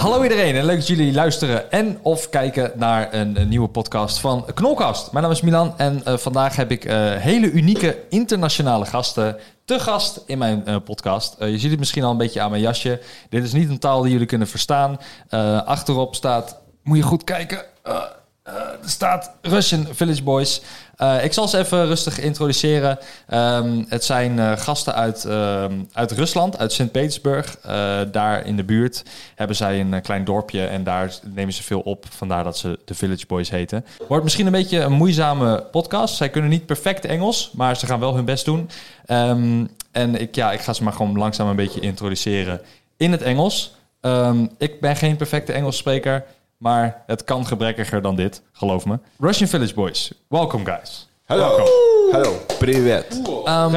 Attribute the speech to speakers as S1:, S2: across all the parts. S1: Hallo iedereen en leuk dat jullie luisteren en of kijken naar een, een nieuwe podcast van Knolkast. Mijn naam is Milan en eh, vandaag heb ik eh, hele unieke internationale gasten te gast in mijn eh, podcast. Eh, je ziet het misschien al een beetje aan mijn jasje. Dit is niet een taal die jullie kunnen verstaan. Eh, achterop staat, moet je goed kijken, Eh, eh, er staat Russian Village Boys. Eh, ik zal ze even rustig introduceren. Ehm, het zijn eh, gasten uit, ehm, uit Rusland, uit Sint-Petersburg. Eh, daar in de buurt hebben zij een eh, klein dorpje en daar nemen ze veel op. Vandaar dat ze de Village Boys heten. Wordt misschien een beetje een moeizame podcast. Zij kunnen niet perfect Engels, maar ze gaan wel hun best doen. Ehm, en ik, ja, ik ga ze maar gewoon langzaam een beetje introduceren in het Engels. Ehm, ik ben geen perfecte Engelsspreker, maar het kan gebrekkiger dan dit, geloof me. Russian Village Boys, welcome guys.
S2: Hello. Hello. Привет.
S1: Ehm,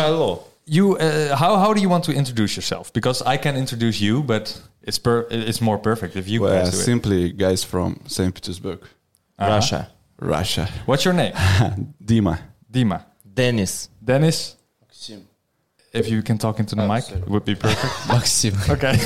S1: You, uh, how how do you want to introduce yourself? Because I can introduce you, but it's per it's more perfect if you
S2: Well,
S1: guys do it.
S2: simply guys from St. Petersburg,
S3: Russia.
S2: Russia.
S1: What's your name?
S2: Dima.
S1: Dima.
S3: Dennis.
S1: Dennis. If you can talk into the mic, it would be perfect.
S3: Maxim.
S1: okay.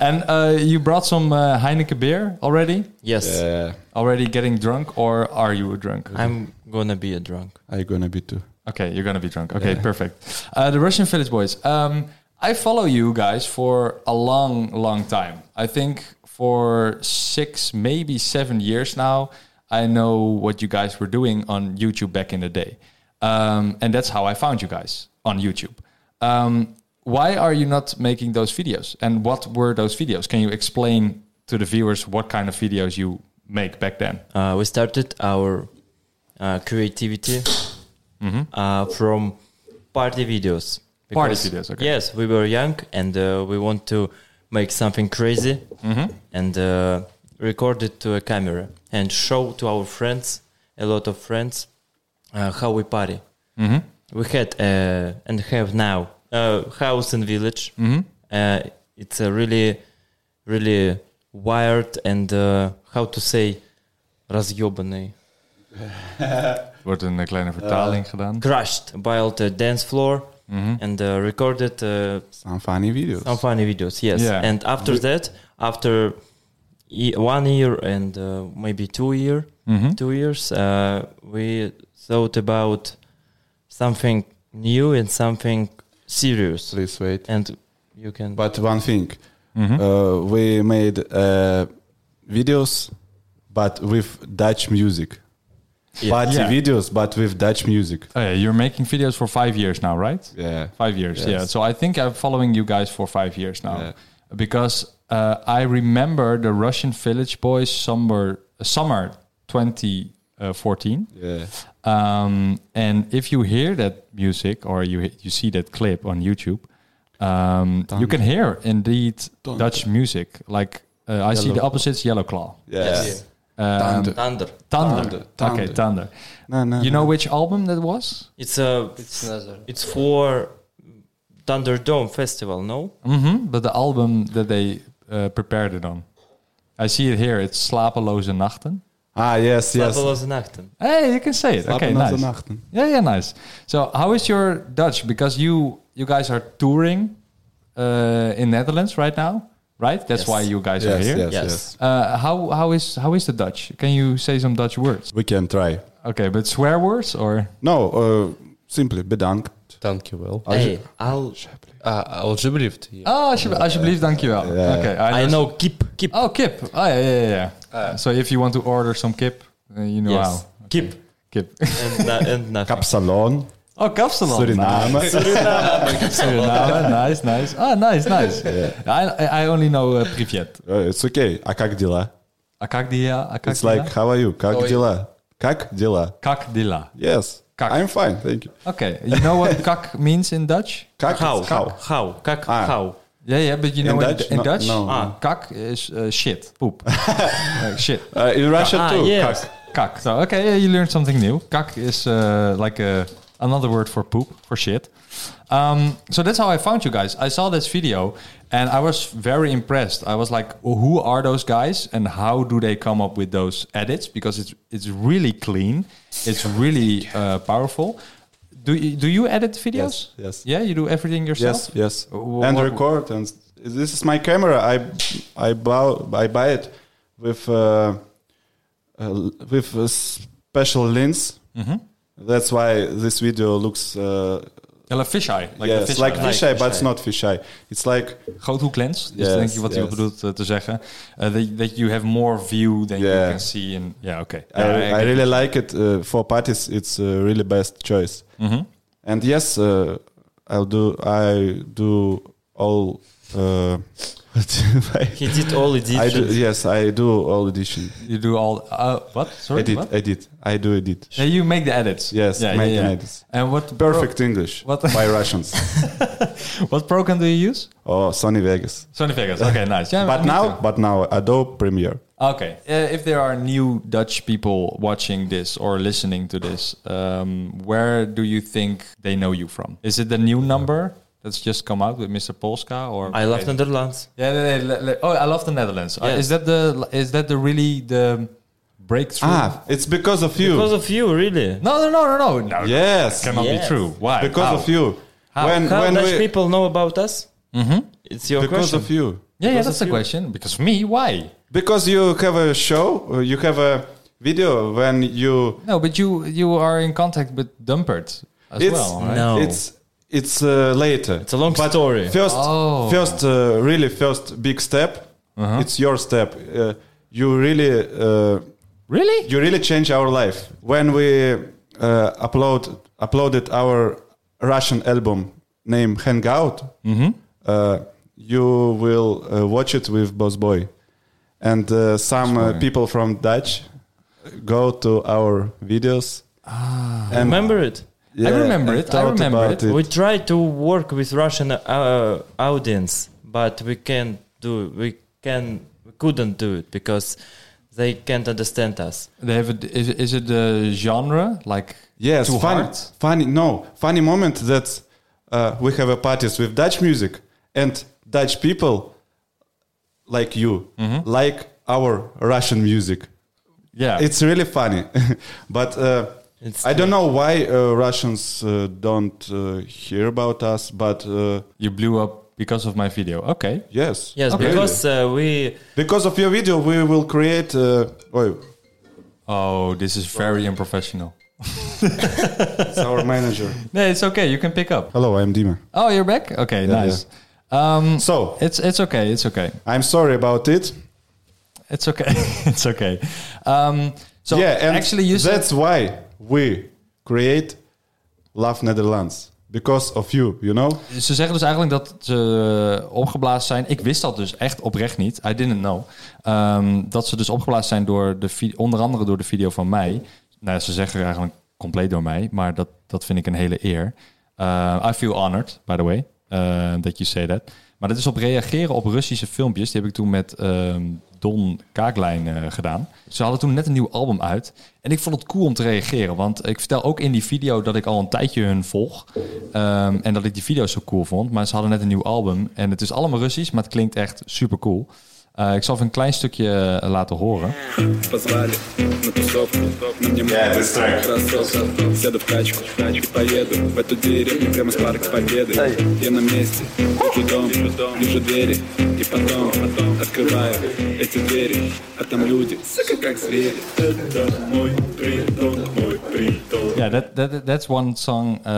S1: and uh, you brought some uh, Heineken beer already?
S3: Yes.
S2: Yeah,
S1: Already getting drunk, or are you drunk?
S3: I'm gonna be a drunk.
S2: I gonna be too.
S1: Okay, you're gonna be drunk. Okay, perfect. Uh, the Russian Village Boys. Um, I follow you guys for a long, long time. I think for six, maybe seven years now. I know what you guys were doing on YouTube back in the day, um, and that's how I found you guys on YouTube. Um, why are you not making those videos? And what were those videos? Can you explain to the viewers what kind of videos you make back then?
S3: Uh, we started our uh, creativity uh, from party videos.
S1: Mm-hmm. Party
S3: Because,
S1: videos, okay.
S3: Yes, we were young and uh, we want to make something crazy
S1: Mm-hmm.
S3: and uh, record it to a camera and show to our friends, a lot of friends, uh, how we party.
S1: Mm-hmm.
S3: We had uh, and have now a house and village.
S1: Mm-hmm.
S3: Uh, it's a really, really wired and uh, how to say, разъебанный.
S1: Wordt er een kleine vertaling gedaan?
S3: crushed by all the dance floor and uh, recorded uh,
S2: Some funny videos.
S3: some funny videos. Yes,
S1: Yeah.
S3: and after that, after e- one year and uh, maybe two year, two years, uh, we thought about something new and something serious.
S2: Please wait.
S3: And you can
S2: But one thing,
S1: Mm-hmm.
S2: uh, we made uh, videos, but with Dutch music.
S3: Yeah.
S2: Party
S1: Yeah.
S2: videos, but with Dutch music.
S1: Oh yeah, you're making videos for five years now, right?
S2: Yeah.
S1: Five years, yeah. So I think I'm following you guys for five years now
S2: Yeah.
S1: because uh, I remember the Russian Village Boys summer summer 2014.
S2: Yeah.
S1: Um, and if you hear that music or you you see that clip on YouTube, um, you can hear indeed Dutch music. Like uh, I see the opposites, Yellow Claw, Um,
S2: Yeah.
S3: Yes.
S2: Thunder.
S3: thunder.
S1: Thunder.
S2: Thunder.
S1: Okay, Thunder.
S2: No, no,
S1: You
S2: no.
S1: know which album that was?
S3: It's a it's, it's for Thunderdome festival. No,
S1: Mhm, but the album that they uh, prepared it on. I see it here. It's Slapeloze Nachten.
S2: Ah, yes, yes.
S3: Slapeloze Nachten.
S1: Hey, you can say it. okay,
S2: Slapeloze
S1: nice.
S2: Nachten.
S1: Yeah, yeah, nice. So, how is your Dutch? Because you you guys are touring uh, in Netherlands right now, right? That's
S3: Yes.
S1: why you guys are
S2: Yes,
S1: here.
S2: yes, yes,
S3: Yes.
S1: Uh, how how is how is the Dutch? Can you say some Dutch words?
S2: We can try.
S1: Okay, but swear words or
S2: No, uh, simply bedankt.
S4: Dankjewel.
S3: Hey, I'll
S4: Ah, alsjeblieft. Ja.
S1: oh, alsje- alsjeblieft, dankjewel. Okay,
S3: I know keep keep.
S1: Oh, kip. Oh, yeah, yeah, yeah. yeah. so if you want to order some kip, uh, you know
S3: Yes.
S1: how.
S3: Kip.
S1: Kip.
S3: and, na- and nothing.
S2: Kapsalon,
S1: Oh, kapsalon.
S2: Suriname.
S1: Suriname. Nice, nice. Ah, nice, nice. I, I- I only know uh, Privet.
S2: Uh, it's okay. А как дела?
S1: А как дела? А как
S2: It's like, how are you? Как
S4: Ой.
S2: дела? Как дела?
S1: Как дела?
S2: Yes.
S1: Kak.
S2: I'm fine, thank you.
S1: Okay. You know what kak means in Dutch?
S2: Kak,
S3: How?
S2: is how.
S3: How? Как?
S2: Ah.
S3: How?
S1: Yeah, yeah, but you
S2: In
S1: know in,
S2: Dutch?
S1: in
S2: No,
S1: Dutch?
S2: no.
S3: Ah.
S1: Kak is uh, shit, poop. Uh, shit.
S2: Uh, in Russia
S3: Ah,
S2: too.
S3: yes.
S2: Kak.
S1: Kak. So, okay, yeah, you learned something new. Kak is uh, like a, another word for poop, for shit. Um, so that's how I found you guys. I saw this video and I was very impressed. I was like, "Well, who are those guys and how do they come up with those edits? Because it's it's really clean, it's really uh, powerful. Do you, do you edit videos?
S2: Yes, yes.
S1: Yeah, you do everything yourself.
S2: Yes, yes.
S1: Wh-
S2: and
S1: what-
S2: record and this is my camera. I I buy I buy it with uh, uh, with a special lens. That's why this video looks uh,
S1: Yeah, like fisheye. Like
S2: yes,
S1: the fisheye.
S2: like
S3: Like
S2: fisheye, but it's
S3: fisheye.
S2: not fisheye. It's like
S1: groothoeklens. Dus
S2: Yes,
S1: denk je wat hij
S2: yes.
S1: bedoelt eh, te zeggen. Eh, that, that you have more view than you
S2: Yeah.
S1: can see. And, yeah, okay.
S2: I,
S1: Yeah, I
S2: I
S1: get
S2: really
S1: it.
S2: like it uh, for parties. It's uh, really best choice.
S1: Mm-hmm.
S2: And yes, uh, I'll do. I do all. Uh, what if I-
S3: He did all
S2: I do,
S3: editions.
S2: yes, I do all edition.
S1: You do all... Uh, what? Sorry,
S2: Edit,
S1: what?
S2: edit. I do edit.
S1: Yeah, you make the edits.
S2: Yes,
S1: yeah,
S2: make
S1: yeah,
S2: the
S1: yeah.
S2: edits.
S1: And what pro-
S2: Perfect English
S1: What-
S2: by Russians.
S1: what program do you use?
S2: oh, Sony Vegas.
S1: Sony Vegas. Okay, nice. Yeah,
S2: But
S1: me
S2: now,
S1: too.
S2: but now Adobe Premiere.
S1: Okay. Uh, if there are new Dutch people watching this or listening to this, um, where do you think they know you from? Is it the new number that's just come out with Mr. Polska or
S3: I love Netherlands.
S1: Yeah, nee, nee, le- le- oh, I love the Netherlands. Uh,
S3: Yes.
S1: is that the is that the really the breakthrough?
S2: Ah, it's because of you.
S3: Because of you, really.
S1: No, no, no, no, no, no.
S2: yes,
S1: Cannot be
S3: Yes.
S1: true. Why?
S2: because
S1: How?
S2: of you.
S1: How?
S2: When
S3: How
S2: when
S3: Dutch
S2: we
S3: people know about us? Mm-hmm. It's your
S2: because
S3: question.
S2: of you.
S1: Yeah, yeah,
S3: Because
S1: that's
S3: of
S1: the
S3: you.
S1: question. Because of me, why?
S2: Because you have a show, uh, you have a video when you.
S1: No, but you you are in contact with Dumpert as
S2: It's
S1: well, right?
S3: No.
S2: it's it's uh, later.
S3: It's a long story.
S2: First,
S1: Oh.
S2: first, uh, really first big step.
S3: Uh-huh.
S2: It's your step. Uh, you really, uh,
S1: Really?
S2: you really change our life when we uh, upload uploaded our Russian album named Hangout.
S1: Mm-hmm.
S2: Uh, you will uh, watch it with Boss Boy, and uh, some uh, people from Dutch go to our videos. and
S3: Remember it?
S1: I remember
S2: and
S1: it, I
S2: thought
S1: remember
S2: about
S1: it.
S3: We try to work with Russian uh, audience, but we can't do. We can. We couldn't do it because they can't understand us.
S1: They have a, d- is, is it the genre like
S2: Yes,
S1: too
S2: funny,
S1: hard?
S2: funny. No, funny moment that uh, we have a parties with Dutch music and Dutch people like you
S3: Mm-hmm.
S2: like our Russian music.
S1: Yeah,
S2: It's really funny, but uh,
S3: It's
S2: I don't know why uh, Russians uh, don't uh, hear about us. But uh,
S1: you blew up because of my video. Okay.
S2: yes,
S3: Yes,
S2: really.
S3: because uh, we
S2: because of your video, we will create. Uh, oh,
S1: Oh, this is very unprofessional.
S2: it's our manager.
S1: No, it's okay. You can pick up.
S2: Hello, I'm Dima.
S1: Oh, you're back. Okay, nice. Um,
S2: So
S1: It's it's okay. It's okay.
S2: I'm sorry about it.
S1: It's okay. it's okay. Um, so
S2: yeah, and
S1: actually, you said
S2: that's why we create Love Netherlands because of you, you know.
S1: ze zeggen dus eigenlijk dat ze eh, opgeblazen zijn. Ik wist dat dus echt oprecht niet. I didn't know Ehm, dat ze dus opgeblazen zijn door de vi- onder andere door de video van mij. Nou, ja, ze zeggen eigenlijk compleet door mij, maar dat dat vind ik een hele eer. Eh, I feel honored, by the way, eh, that you say that. Maar dat is op reageren op Russische filmpjes. Die heb ik toen met ehm, Don Kaaklijn eh, gedaan. Ze hadden toen net een nieuw album uit. En ik vond het cool om te reageren. Want ik vertel ook in die video dat ik al een tijdje hun volg. Ehm, en dat ik die video's zo cool vond. Maar ze hadden net een nieuw album. En het is allemaal Russisch, maar het klinkt echt super cool. Eh, ik zal even een klein stukje eh, laten horen.
S5: Позвали на тусовку, но мне
S2: Yeah,
S5: мало
S2: this track.
S5: кроссовка. Сяду в тачку и поеду в эту деревню прямо с парка Победы. Я на месте, вижу дом, вижу двери и потом, потом открываю эти двери, а там люди, сука, как звери. Это мой притон, мой притон.
S1: Ja, that, that, that's one song eh,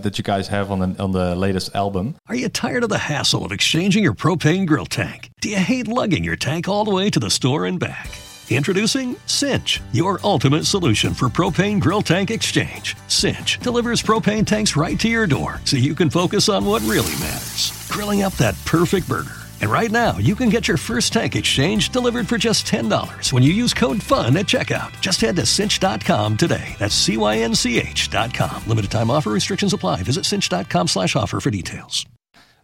S1: that you guys have on the, on the latest album.
S6: Are you tired of the hassle of exchanging your propane grill tank? Do you hate lugging your tank all the way to the store and back? Introducing Cinch, your ultimate solution for propane grill tank exchange. Cinch delivers propane tanks right to your door so you can focus on what really matters grilling up that perfect burger And right now, you can get your first tank exchange delivered for just $10 when you use code FUN at checkout. Just head to cinch.com today. That's C-Y-N-C-H.com. Limited time offer restrictions apply. Visit cinch.com slash offer for details.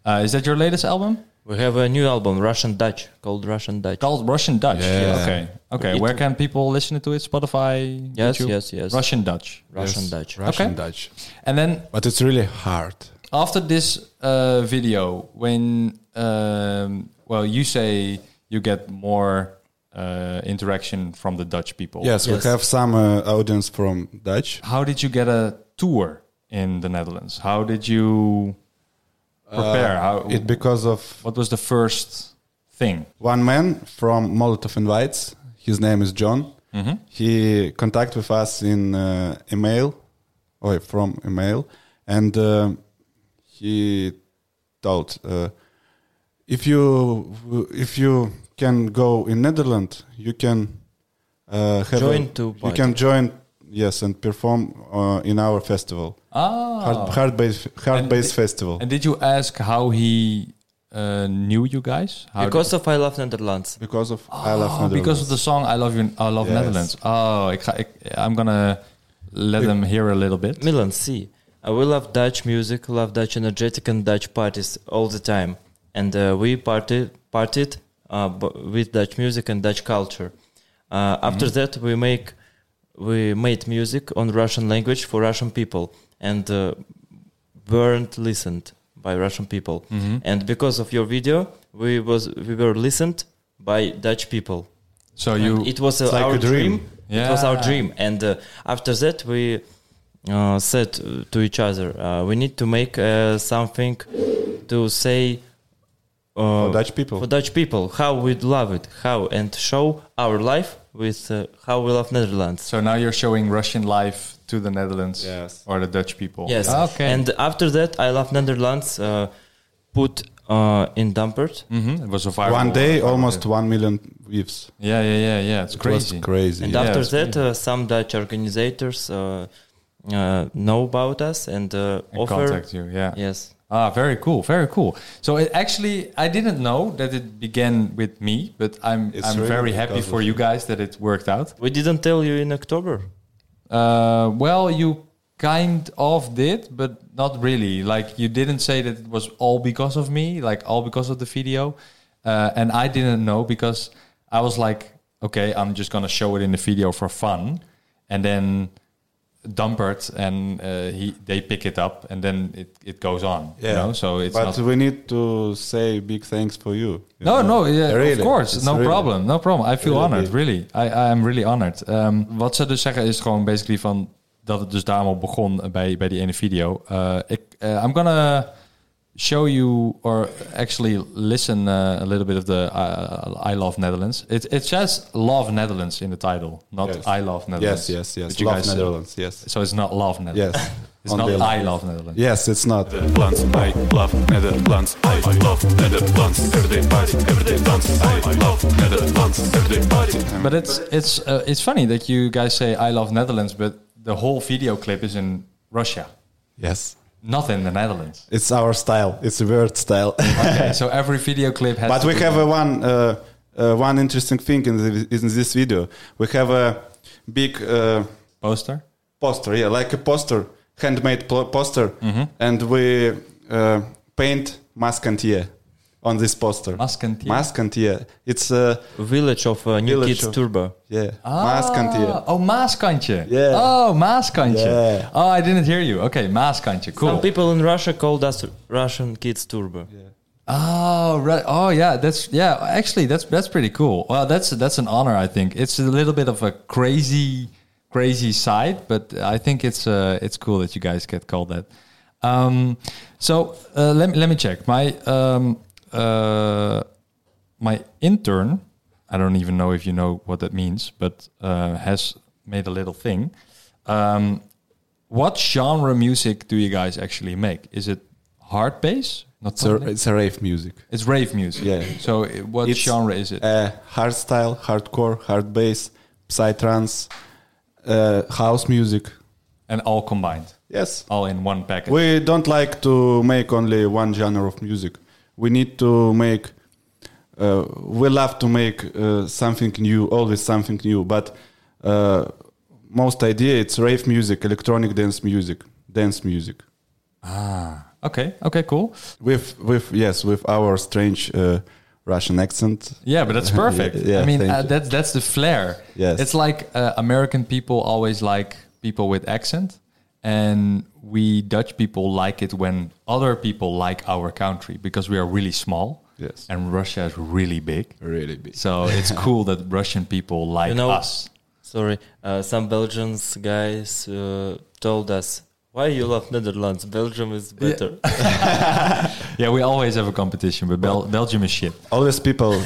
S1: Uh, is that your latest album?
S3: We have a new album, Russian Dutch, called Russian Dutch.
S1: Called Russian Dutch.
S4: Yeah.
S1: Okay. Okay. Where can people listen to it? Spotify.
S3: Yes,
S1: YouTube?
S3: yes, yes.
S1: Russian Dutch.
S3: Russian Dutch.
S4: Russian
S1: Okay.
S4: Dutch.
S1: And then
S4: But it's really hard.
S1: after this uh, video, when um, well, you say you get more uh, interaction from the Dutch people.
S2: Yes,
S3: Yes.
S2: we have some uh, audience from Dutch.
S1: How did you get a tour in the Netherlands? How did you prepare? How
S2: Uh, It because of
S1: what was the first thing?
S2: one man from Molotov Invites. His name is John.
S1: Mm-hmm.
S2: He contact with us in uh, email, or from email, and uh, he told uh, if you if you can go in Netherlands, you can uh, have
S3: Join
S2: a-
S3: to
S2: you
S3: party.
S2: can join yes and perform uh, in our festival.
S1: Ah,
S2: Hard, hard base, hard
S1: And
S2: base
S1: it-
S2: festival.
S1: and did you ask how he uh, knew you guys? How
S3: Because of I Love Netherlands.
S2: because of I love
S1: Oh, because of
S2: Netherlands.
S1: the song "I Love You, I Love
S2: Yes.
S1: Netherlands." Oh, ik ga, ik, I'm gonna let them hear a little bit.
S3: Milan, see, uh, we love Dutch music, love Dutch energetic and Dutch parties all the time. And uh, we party, partied uh, b- with Dutch music and Dutch culture. Uh, After that, we make we made music on Russian language for Russian people and uh, weren't listened by Russian people. And because of your video, we was we were listened by Dutch people.
S1: So
S3: And
S1: you,
S3: it was uh,
S2: like
S3: our
S2: a dream.
S3: dream. It was our
S1: Yeah.
S3: dream, and uh, after that we uh, said uh, to each other, uh, we need to make uh, something to say uh,
S2: For Dutch people.
S3: for Dutch people how we love it, how and show our life with uh, how we love Netherlands.
S1: so now you're showing Russian life to the Netherlands
S2: Yes.
S1: or the Dutch people.
S3: Yes.
S1: Ah, Okay.
S3: And after that, I love Netherlands. Uh, put uh, in Dumpert.
S1: Mhm, it was a viral.
S2: One day,
S1: viral
S2: almost
S1: hit.
S2: one million views.
S1: Yeah, yeah, yeah, yeah. It's
S2: It
S1: crazy.
S2: was crazy.
S3: And
S2: yeah.
S3: after
S1: it's
S3: that, uh, some Dutch organizators uh, uh, know about us and, uh,
S1: And
S3: offer.
S1: contact you. Yeah.
S3: Yes.
S1: Ah, very cool, very cool. So it actually, I didn't know that it began with me, but I'm
S2: It's
S1: I'm
S2: really
S1: very happy
S2: because
S1: for
S2: of-
S1: you guys that it worked out.
S3: We didn't tell you in October.
S1: Uh, well, you kind of did, but not really. Like you didn't say that it was all because of me, like all because of the video, uh, and I didn't know because I was like, okay, I'm just gonna show it in the video for fun, and then Dumpert and uh, he they pick it up, and then it, it goes on. You know? so it's
S2: but
S1: not.
S2: we need to say big thanks for you. you
S1: No,
S2: know.
S1: no, yeah,
S2: Really,
S1: of course,
S2: it's
S1: no
S2: really-
S1: problem, no problem. I feel
S2: Really
S1: honored,
S2: big.
S1: really. I, I am really honored. Ehm, wat ze dus zeggen is gewoon basically van dat het dus daarom al begon bij, bij die ene video. Eh, ik, eh, I'm gonna show you or actually listen eh, a little bit of the eh, I Love Netherlands. It, it says Love Netherlands in the title, not
S2: Yes.
S1: I Love Netherlands.
S2: Yes, yes, yes.
S1: But you
S2: Love
S1: guys-
S2: Netherlands. Yes,
S1: So it's not Love Netherlands.
S2: yes.
S1: It's
S2: On
S1: not
S2: the-
S1: I Love Netherlands.
S2: Yes, it's not.
S7: Netherlands, I love Netherlands, I love Netherlands, everyday party, everyday dance, I love Netherlands, everyday party.
S1: But it's it's uh, it's funny that you guys say I love Netherlands, but the whole video clip is in Russia,
S2: Yes,
S1: not in the Netherlands.
S2: it's our style. It's a weird style.
S1: Okay, so every video clip has.
S2: but
S1: to
S2: we
S1: be-
S2: have a one uh, uh, one interesting thing in, the, in this video. We have a big. Uh,
S1: poster.
S2: poster yeah like a poster handmade pl- poster and we uh, paint maskantier on this poster
S1: Maskantier?
S2: maskantier it's uh,
S3: Village of uh, New
S2: Village
S3: Kids
S2: of-
S3: Turbo.
S2: yeah
S1: Ah,
S2: maskantier
S1: Oh, maaskantje.
S2: Yeah.
S1: Oh, maaskantje.
S2: Yeah.
S1: Oh, I didn't hear you. Okay, maaskantje. Cool.
S3: Some people in Russia called us Russian Kids Turbo.
S1: Oh, right. Oh, yeah. That's yeah. Actually, that's that's pretty cool. Well, that's that's an honor. I think it's a little bit of a crazy, crazy side, but I think it's uh, it's cool that you guys get called that. Um, so uh, let me let me check my um, uh, my intern. I don't even know if you know what that means, but uh, has made a little thing. Um, what genre music do you guys actually make? Is it hard bass? Not
S2: it's a,
S1: technically?
S2: it's a rave music
S1: It's rave music.
S2: Yeah.
S1: So i- what
S2: It's-
S1: genre is it?
S2: uh, hard style hardcore hard bass psytrance uh, house music
S1: and all combined,
S2: yes
S1: all in one package.
S2: we don't like to make only one genre of music we need to make uh, we love to make uh, something new, always something new. But uh, most idea it's rave music, electronic dance music, dance music
S1: Oké, oké, cool.
S2: with with yes with our strange uh, Russian accent.
S1: Yeah, but that's perfect.
S2: Yeah,
S1: I mean,
S2: thank
S1: uh,
S2: you.
S1: that's that's the flair.
S2: Yes.
S1: it's like uh, American people always like people with accent, and we Dutch people like it when other people like our country because we are really small.
S2: Yes.
S1: and Russia is really big.
S2: Really big.
S1: So it's cool that Russian people like
S3: You know-
S1: us.
S3: Sorry, uh, some Belgians guys uh, told us why you love Netherlands. Belgium is better.
S1: Yeah, we always have a competition, but Bel- Belgium is shit.
S2: always people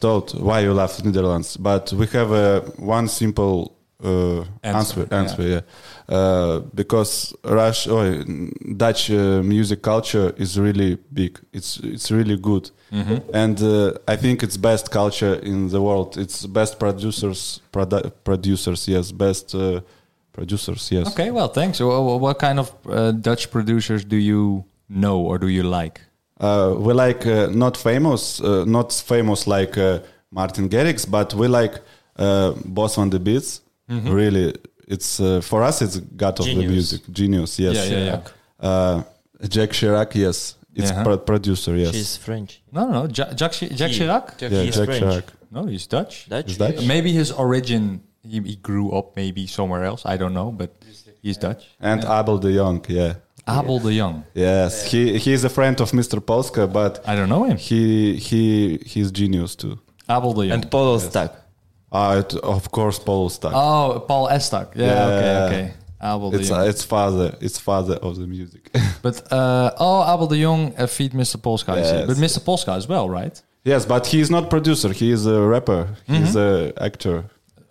S2: thought why you love Netherlands, but we have uh, one simple uh,
S1: Answer,
S2: answer. Answer, yeah, Uh, because Rush, oh, Dutch uh, music culture is really big. It's it's really good, and uh, I think it's best culture in the world. It's best producers, produ- producers, yes, best uh, producers, yes.
S1: Okay, well, thanks. Wha- wha- What kind of uh, Dutch producers do you know or do you like?
S2: uh, we like uh, not famous, uh, not famous like uh, Martin Garrix, but we like uh, Boss on the Beats.
S1: Mm-hmm.
S2: Really, it's uh, for us it's god of the
S3: Genius.
S2: music, genius. Yes,
S1: Yeah, yeah, yeah.
S2: Uh, Jack Chirac, yes, it's
S1: Yeah.
S2: pro- producer. Yes,
S3: She's French.
S1: No, no, no. Ja- Jacques Chi- Jacques
S3: He-
S1: Chirac?
S2: yeah,
S3: he's
S2: Jack
S3: French.
S2: Chirac.
S1: No, he's Dutch.
S3: Dutch.
S2: Is Dutch?
S1: Maybe his origin, he, he grew up maybe somewhere else. I don't know, but he's Dutch.
S2: And Abel de Jong, yeah,
S1: Abel de Jong.
S2: yes, he he is a friend of Mr. Polska, but
S1: I don't know him.
S2: he he he's genius too.
S1: Abel de Jong.
S3: And Polo Stack.
S2: Uh, it, of course, Paul Stack.
S1: oh, Paul Estak. Yeah,
S2: Yeah.
S1: okay, okay. Abel de
S2: it's
S1: Jong.
S2: uh, it's father, it's father of the music.
S1: but, uh, oh, Abel de Jong uh, feed Mr. Polska. you said.
S2: Yes.
S1: But Mr. Polska as well, right?
S2: Yes, but he is not producer. He is a rapper. He is a actor.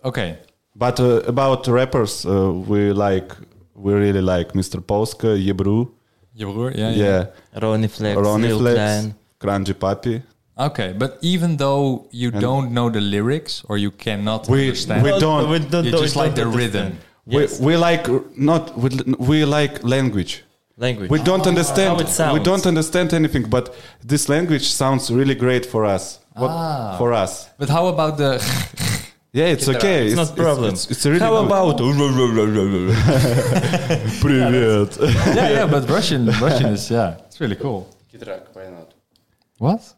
S1: Okay.
S2: But uh, about rappers, uh, we like we really like Mr. Polska, Yebru,
S1: Je broer? Yeah, yeah.
S2: yeah,
S3: Ronnie Flex.
S2: Ronnie
S3: Lil
S2: Flex,
S3: Klein.
S2: Kranji Papi.
S1: Okay, but even though you don't know the lyrics or you cannot
S2: We
S1: understand,
S2: we don't we,
S1: you just like the rhythm.
S2: we like not we, we like language.
S3: Language.
S2: We don't understand.
S3: How it sounds.
S2: We don't understand anything, but this language sounds really great for us. What for us?
S1: But how about the
S2: Yeah, it's okay.
S3: Ah. It's, not problem.
S2: It's, it's, really
S3: How
S2: good.
S3: about
S2: Привет.
S1: yeah, yeah, but Russian, Russian is yeah, it's really cool.
S4: Kitrack, why not?
S1: What?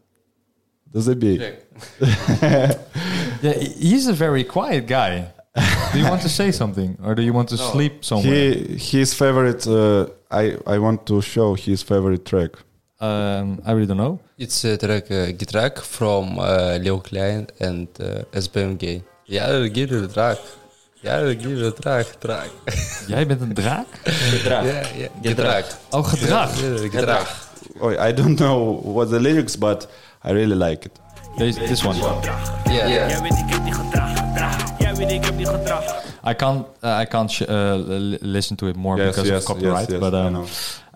S2: Да забей.
S1: Yeah, he- he's a very quiet guy. do you want to say something, or do you want to sleep somewhere?
S2: He his favorite. Uh, I I want to show his favorite track.
S1: um, I really don't know.
S4: It's a track, uh, Gitrack from uh, Leo Klein and uh, SBMG. Ja, Gitrack, track. Ja, Gitrack, track, track.
S1: Jij bent een draak?
S3: Gedrag.
S4: Ja, ja,
S3: Gedrag.
S4: Gitrack.
S1: Oh, gedrag.
S4: Gedrag.
S2: Oh, I don't know what the lyrics, but I really like it.
S1: Deze, this one.
S4: Yeah.
S1: I can't, uh, I can't sh- uh, li- listen to it more
S2: Yes,
S1: because
S2: yes,
S1: of copyright.
S2: yes, yes,
S1: but um,
S2: I know.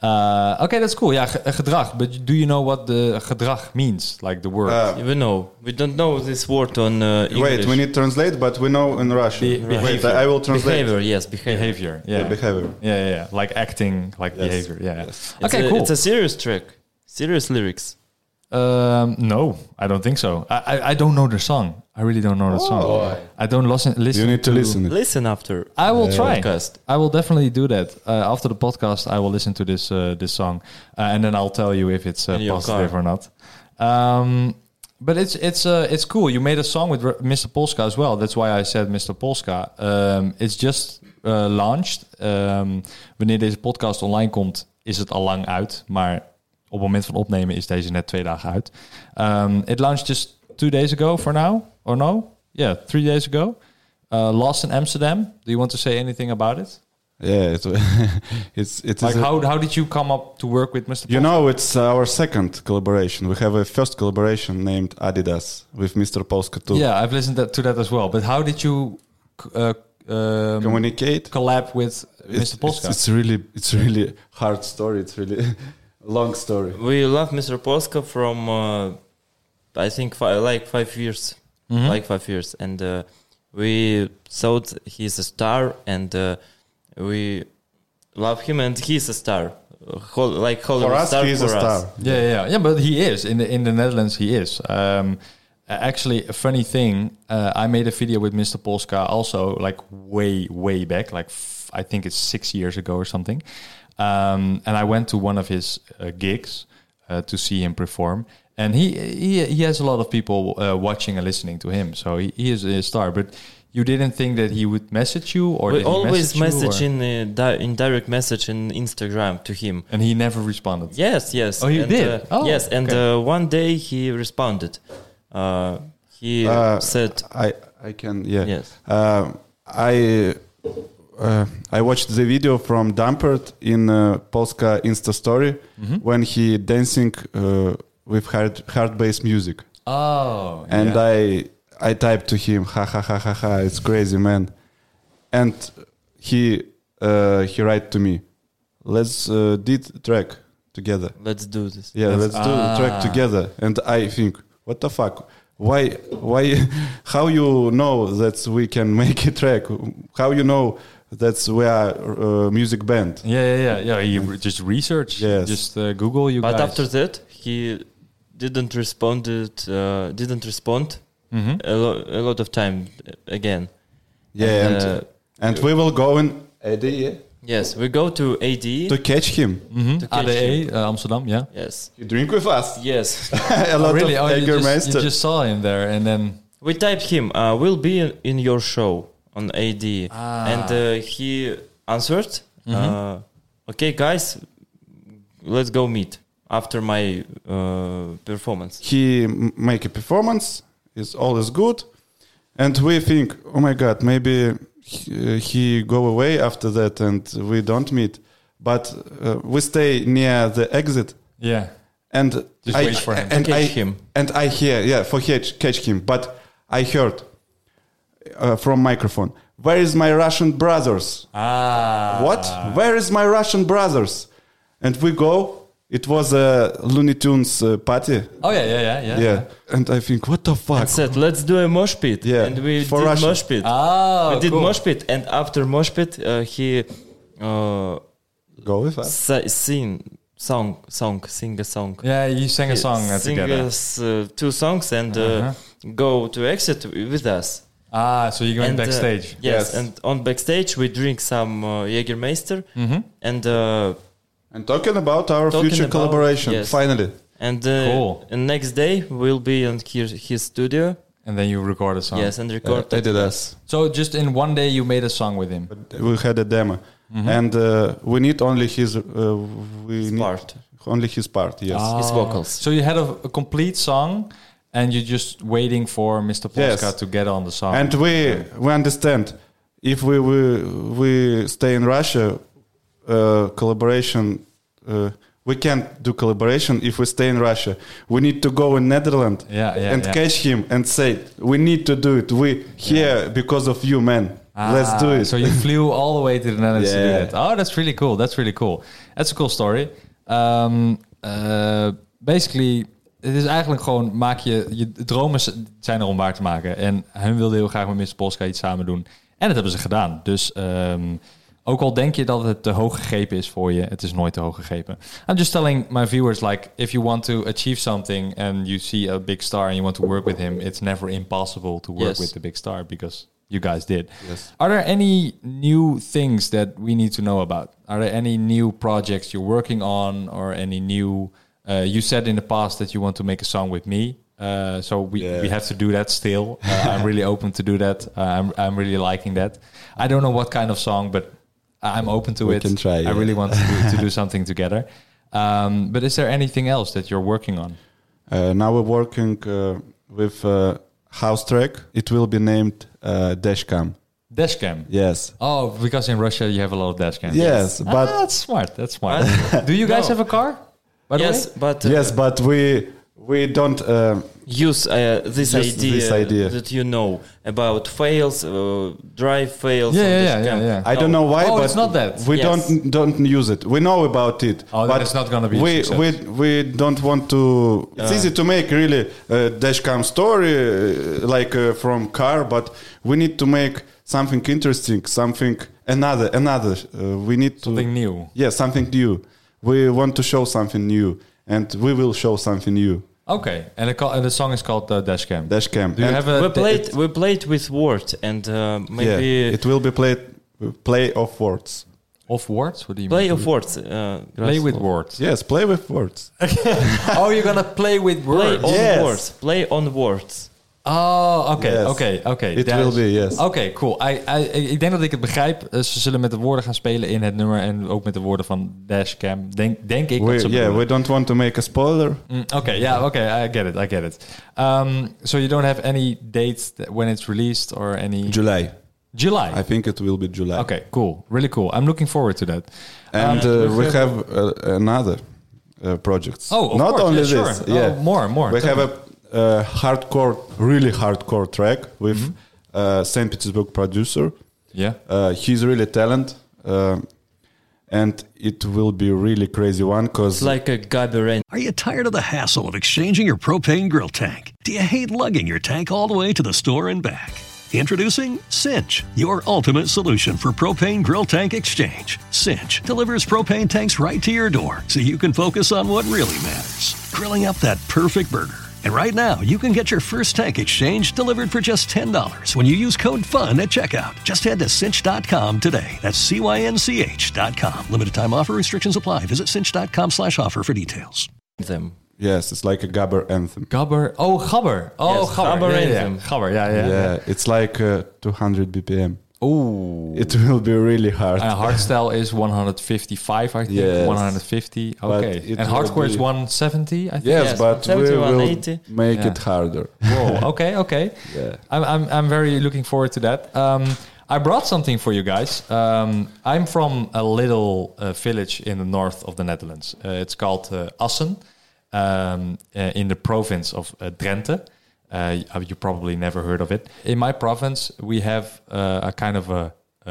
S1: uh, okay, that's cool. Yeah, ge- uh, gedrag. But do you know what the eh, gedrag means, like the word?
S2: Uh,
S3: We know. We don't know this word on uh, English.
S2: Wait, we need translate, but we know in Russian. Wait, I I will translate.
S3: Behavior, yes, behavior.
S1: behavior. Yeah.
S2: Yeah, behavior.
S1: Yeah, yeah, yeah. Like acting, like behavior. Yeah.
S3: It's
S1: Okay,
S3: a,
S1: cool.
S3: It's a serious track. Serious lyrics.
S1: Um, no, I don't think so. I, I, I don't know the song. I really don't know the song. I don't listen. listen
S2: Oh. You need to listen. It.
S3: Listen after.
S1: I will try.
S3: podcast.
S1: I will definitely do that uh, after the podcast. I will listen to this uh, this song, uh, and then I'll tell you if it's uh,
S3: In your
S1: positive
S3: car.
S1: or not. Um, but it's it's uh, it's cool. You made a song with R- Mr. Polska as well. That's why I said Mr. Polska. Um, it's just uh, launched. Um, wanneer deze podcast online komt, is het al lang uit. Maar op het moment van opnemen is deze net twee dagen uit. Um, it launched just two days ago for now, or no? Yeah, three days ago. Uh, Lost in Amsterdam. Do you want to say anything about it?
S2: Yeah, it, it's it's
S1: Like how, how did you come up to work with Mr.
S2: You know, it's our second collaboration. We have a first collaboration named Adidas with Mr. Polska too.
S1: Yeah, I've listened that, to that as well. But how did you c- uh, um,
S2: Communicate.
S1: collab with
S2: It's-
S1: Mr. Polska?
S2: It's, it's really it's really hard story. It's really long story.
S3: We love Mr. Polska from, uh, I think, fi- like five years.
S1: Mm-hmm.
S3: Like five years. And uh, we thought he's a star and uh, we love him and he's a star. Uh, Hol- like Hollywood
S2: For us,
S3: star
S2: he is
S3: for
S2: a star.
S3: us.
S1: yeah, yeah, yeah. But he is in the in the Netherlands. He is. Um, Uh, actually, a funny thing, uh, I made a video with Mr. Polska also, like way, way back, like f- I think it's six years ago or something. Um, and I went to one of his uh, gigs uh, to see him perform. And he he, he has a lot of people uh, watching and listening to him, so he, he is a star. But you didn't think that he would message you, or
S3: we
S1: that he
S3: always
S1: messaged you,
S3: message
S1: or-
S3: in uh, di- in direct message in Instagram to him.
S1: and he never responded.
S3: Yes, yes.
S1: Oh, you
S3: and,
S1: did?
S3: uh,
S1: Oh,
S3: yes, and
S1: okay.
S3: uh, one day he responded. Uh, he
S2: Uh,
S3: said,
S2: I I can yeah.
S3: Yes.
S2: Uh, I uh, I watched the video from Dampert in uh, Polska Insta story when he dancing uh, with hard hard bass music,
S1: Oh,
S2: and I I typed to him ha ha ha ha ha it's crazy man, and he uh, he write to me, let's uh, did track together.
S3: "Let's do this."
S2: Yeah, let's do the
S1: Ah.
S2: track together. And I think, what the fuck? Why? Why? How you know that we can make a track? How you know that we are a music band?
S1: Yeah, yeah, yeah. yeah you re- just research.
S2: Yes.
S1: Just uh, Google. You
S3: But
S1: guys.
S3: after that, he didn't responded. Uh, didn't respond
S1: Mm-hmm.
S3: a, lo- a lot of time again.
S2: Yeah, and
S3: And,
S2: and,
S3: uh,
S2: we will go in ADE
S3: Yes, we go to AD.
S2: to catch him.
S1: Mm-hmm.
S3: to catch him.
S1: ADE uh, Amsterdam. Yeah.
S3: Yes,
S2: You drink with us.
S3: yes.
S2: a lot
S1: really?
S2: of
S1: Oh, you just, you
S2: Jägermeister.
S1: just saw him there, and then
S3: we typed him. Uh, we'll be in, in your show on AD,
S1: Ah.
S3: and uh, he answered,
S1: Mm-hmm.
S3: uh, "Okay, guys, let's go meet after my uh, performance."
S2: he m- make a performance is all is good and we think oh my god maybe he, uh, he go away after that and we don't meet but uh, we stay near the exit
S1: yeah.
S2: and
S1: Just
S2: I,
S1: wait for him.
S2: and
S3: Catch
S2: I,
S3: him.
S2: and I hear yeah for catch, catch him but I heard uh, from microphone where is my Russian brothers
S1: Ah.
S2: what? Where is my Russian brothers? And we go. It was a Looney Tunes uh, party.
S1: Oh yeah, yeah, yeah, yeah.
S2: Yeah. And I think, what the fuck?
S3: Said, "Let's do a mosh pit,"
S2: Yeah,
S3: and we
S2: for
S3: did
S2: Russia.
S3: mosh pit.
S1: Oh,
S3: we did
S1: cool.
S3: mosh pit, and after mosh pit, uh, he uh,
S2: Go with us.
S3: sa- sing song, song, sing a song.
S1: Yeah, you sang a song uh,
S3: sing
S1: together. Uh-huh.
S3: us uh, two songs and uh, go to exit with us.
S1: Ah, so you went
S3: and, uh,
S1: backstage.
S3: yes,
S2: Yes.
S3: and on backstage we drink some uh, Jägermeister
S1: Mm-hmm.
S3: and uh,
S2: And talking about our
S3: Talking
S2: future
S3: about-
S2: collaboration,
S3: yes.
S2: finally.
S3: and uh,
S1: Cool.
S3: and next day we'll be on his, his studio.
S1: And then you record a song.
S3: Yes, and
S2: Uh,
S3: record.
S2: they
S3: it.
S2: did us.
S1: So just in one day, you made a song with him.
S2: We had a demo, and uh, we need only his uh, we need
S3: part. Ah.
S2: only his part. Yes.
S3: his vocals.
S1: Ah. So you had a, a complete song, and you're just waiting for Mr. Polska
S2: Yes.
S1: to get on the song.
S2: And we we understand if we we, we stay in Russia, uh, collaboration. Uh, we can't do collaboration if we stay in Russia. We need to go in Netherlands
S1: Yeah, yeah,
S2: and
S1: yeah.
S2: catch him and say, "We need to do it. We here because of you, man. Let's do
S1: Ah,
S2: it."
S1: So you flew all the way to the Netherlands to do
S2: Yeah.
S1: that. Oh, that's really cool. That's really cool. That's a cool story. Um, eh, basically, het is eigenlijk gewoon, maak je, je dromen z- zijn er om waar te maken. En hun wilden heel graag met Mr. Polska iets samen doen. En dat hebben ze gedaan. Dus ehm, ook al denk je dat het te hoog gegrepen is voor je, het is nooit te hoog gegrepen. I'm just telling my viewers, like, if you want to achieve something and you see a big star and you want to work with him, it's never impossible to work
S3: Yes.
S1: with the big star because you guys did. Are there any new things that we need to know about? Are there any new projects you're working on or any new? Uh, you said in the past that you want to make a song with me. Uh, so we, we have to do that still. Uh, I'm really open to do that. Uh, I'm, I'm really liking that. I don't know what kind of song, but I'm open to
S2: We
S1: it.
S2: can try,
S1: I
S2: yeah.
S1: really want to do, to do something together. Um, but is there anything else that you're working on?
S2: Uh, now we're working uh, with uh, house track. It will be named uh, Dashcam.
S1: Dashcam.
S2: Yes.
S1: Oh, because in Russia you have a lot of dashcams.
S2: Yes, but
S1: ah, that's smart. That's smart. Do you guys
S3: No.
S1: have a car? By the
S3: Yes,
S1: way?
S3: but uh,
S2: yes, but we we don't. Uh,
S3: use uh, this,
S2: Just
S3: idea
S2: this idea.
S3: that you know about fails, uh, drive fails.
S1: Yeah,
S3: on
S1: yeah,
S3: this
S1: yeah,
S3: camp.
S1: yeah, yeah.
S2: I don't know why,
S1: Oh,
S2: but
S1: it's not that.
S2: we
S3: Yes.
S2: don't don't use it. We know about it,
S1: Oh, then
S2: but
S1: it's not gonna be a
S2: We
S1: success.
S2: we we don't want to. It's easy to make really a dashcam story uh, like uh, from car, but we need to make something interesting, something another another. Uh, we need
S1: Something
S2: to,
S1: new.
S2: Yeah, something new. We want to show something new, and we will show something new.
S1: Okay, and, it call, and the song is called uh, Dashcam.
S2: Dashcam.
S1: Do you
S2: And
S1: have a
S3: we
S1: d-
S3: played
S1: it-
S3: we played with words and uh,
S2: yeah,
S3: maybe
S2: it will be played play of words.
S1: off words? What do you
S3: play
S1: mean?
S3: of words. Uh,
S1: play with
S3: Grasslow.
S1: words.
S2: Yes, play with words.
S1: oh, you're gonna play with
S3: Play
S1: words.
S3: on
S2: Yes.
S3: words. Play on words.
S1: Oh, oké,
S2: Yes.
S1: oké, oké.
S2: It
S1: Daar
S2: will
S1: is-
S2: be, yes.
S1: Oké, cool. I, I, ik denk dat ik het begrijp. Eh, Ze zullen met de woorden gaan spelen in het nummer en ook met de woorden van dashcam. Denk, denk ik
S2: We,
S1: dat ze
S2: yeah,
S1: bedoelen.
S2: we don't want to make a spoiler.
S1: Mm, okay, yeah, okay, I get it, I get it. Um, so you don't have any dates that when it's released or any
S2: July.
S1: July.
S2: I think it will be July.
S1: okay, cool, really cool. I'm looking forward to that.
S2: And uh, we have uh, another uh, projects.
S1: Oh, of
S2: not
S1: course,
S2: only
S1: yeah, sure.
S2: this.
S1: Oh,
S2: Yeah,
S1: more, more.
S2: We
S1: Tell
S2: have a uh, hardcore, really hardcore track with
S1: Mm-hmm.
S2: uh, Saint Petersburg producer.
S1: Yeah.
S2: Uh, he's really talented, uh, and it will be really crazy one because
S3: It's like a gabberine.
S6: Are you tired of the hassle of exchanging your propane grill tank? Do you hate lugging your tank all the way to the store and back? Introducing Cinch, your ultimate solution for propane grill tank exchange. Cinch delivers propane tanks right to your door so you can focus on what really matters grilling up that perfect burger. And right now, you can get your first tank exchange delivered for just $10 when you use code FUN at checkout. Just head to cinch.com today. That's C-Y-N-C-H.com. Limited time offer restrictions apply. Visit cinch.com slash offer for details.
S3: Them.
S2: yes, it's like a gabber anthem.
S1: Gabber. Oh, gabber. Oh,
S3: Yes,
S1: gabber.
S3: gabber
S1: yeah, yeah,
S3: anthem.
S1: yeah. Gabber. Yeah, yeah.
S2: Yeah,
S1: yeah.
S2: it's like uh, 200 BPM.
S1: Ooh.
S2: It will be really hard.
S1: And hardstyle is 155, I think.
S2: Yes.
S1: 150.
S2: But
S1: Okay.
S2: it
S1: And
S2: will
S1: hardcore is
S2: be-
S1: 170, I think.
S2: yes,
S3: Yes,
S2: but we
S3: 70,
S2: will
S3: 180.
S2: make
S1: Yeah.
S2: it harder.
S1: Whoa. Okay. Okay.
S2: Yeah.
S1: I'm, I'm, I'm very looking forward to that. Um, I brought something for you guys. Um, I'm from a little uh, village in the north of the Netherlands. Uh, it's called uh, Assen, um, uh, in the province of uh, Drenthe. Uh, you- uh, you probably never heard of it. In my province, we have uh, a kind of a, uh,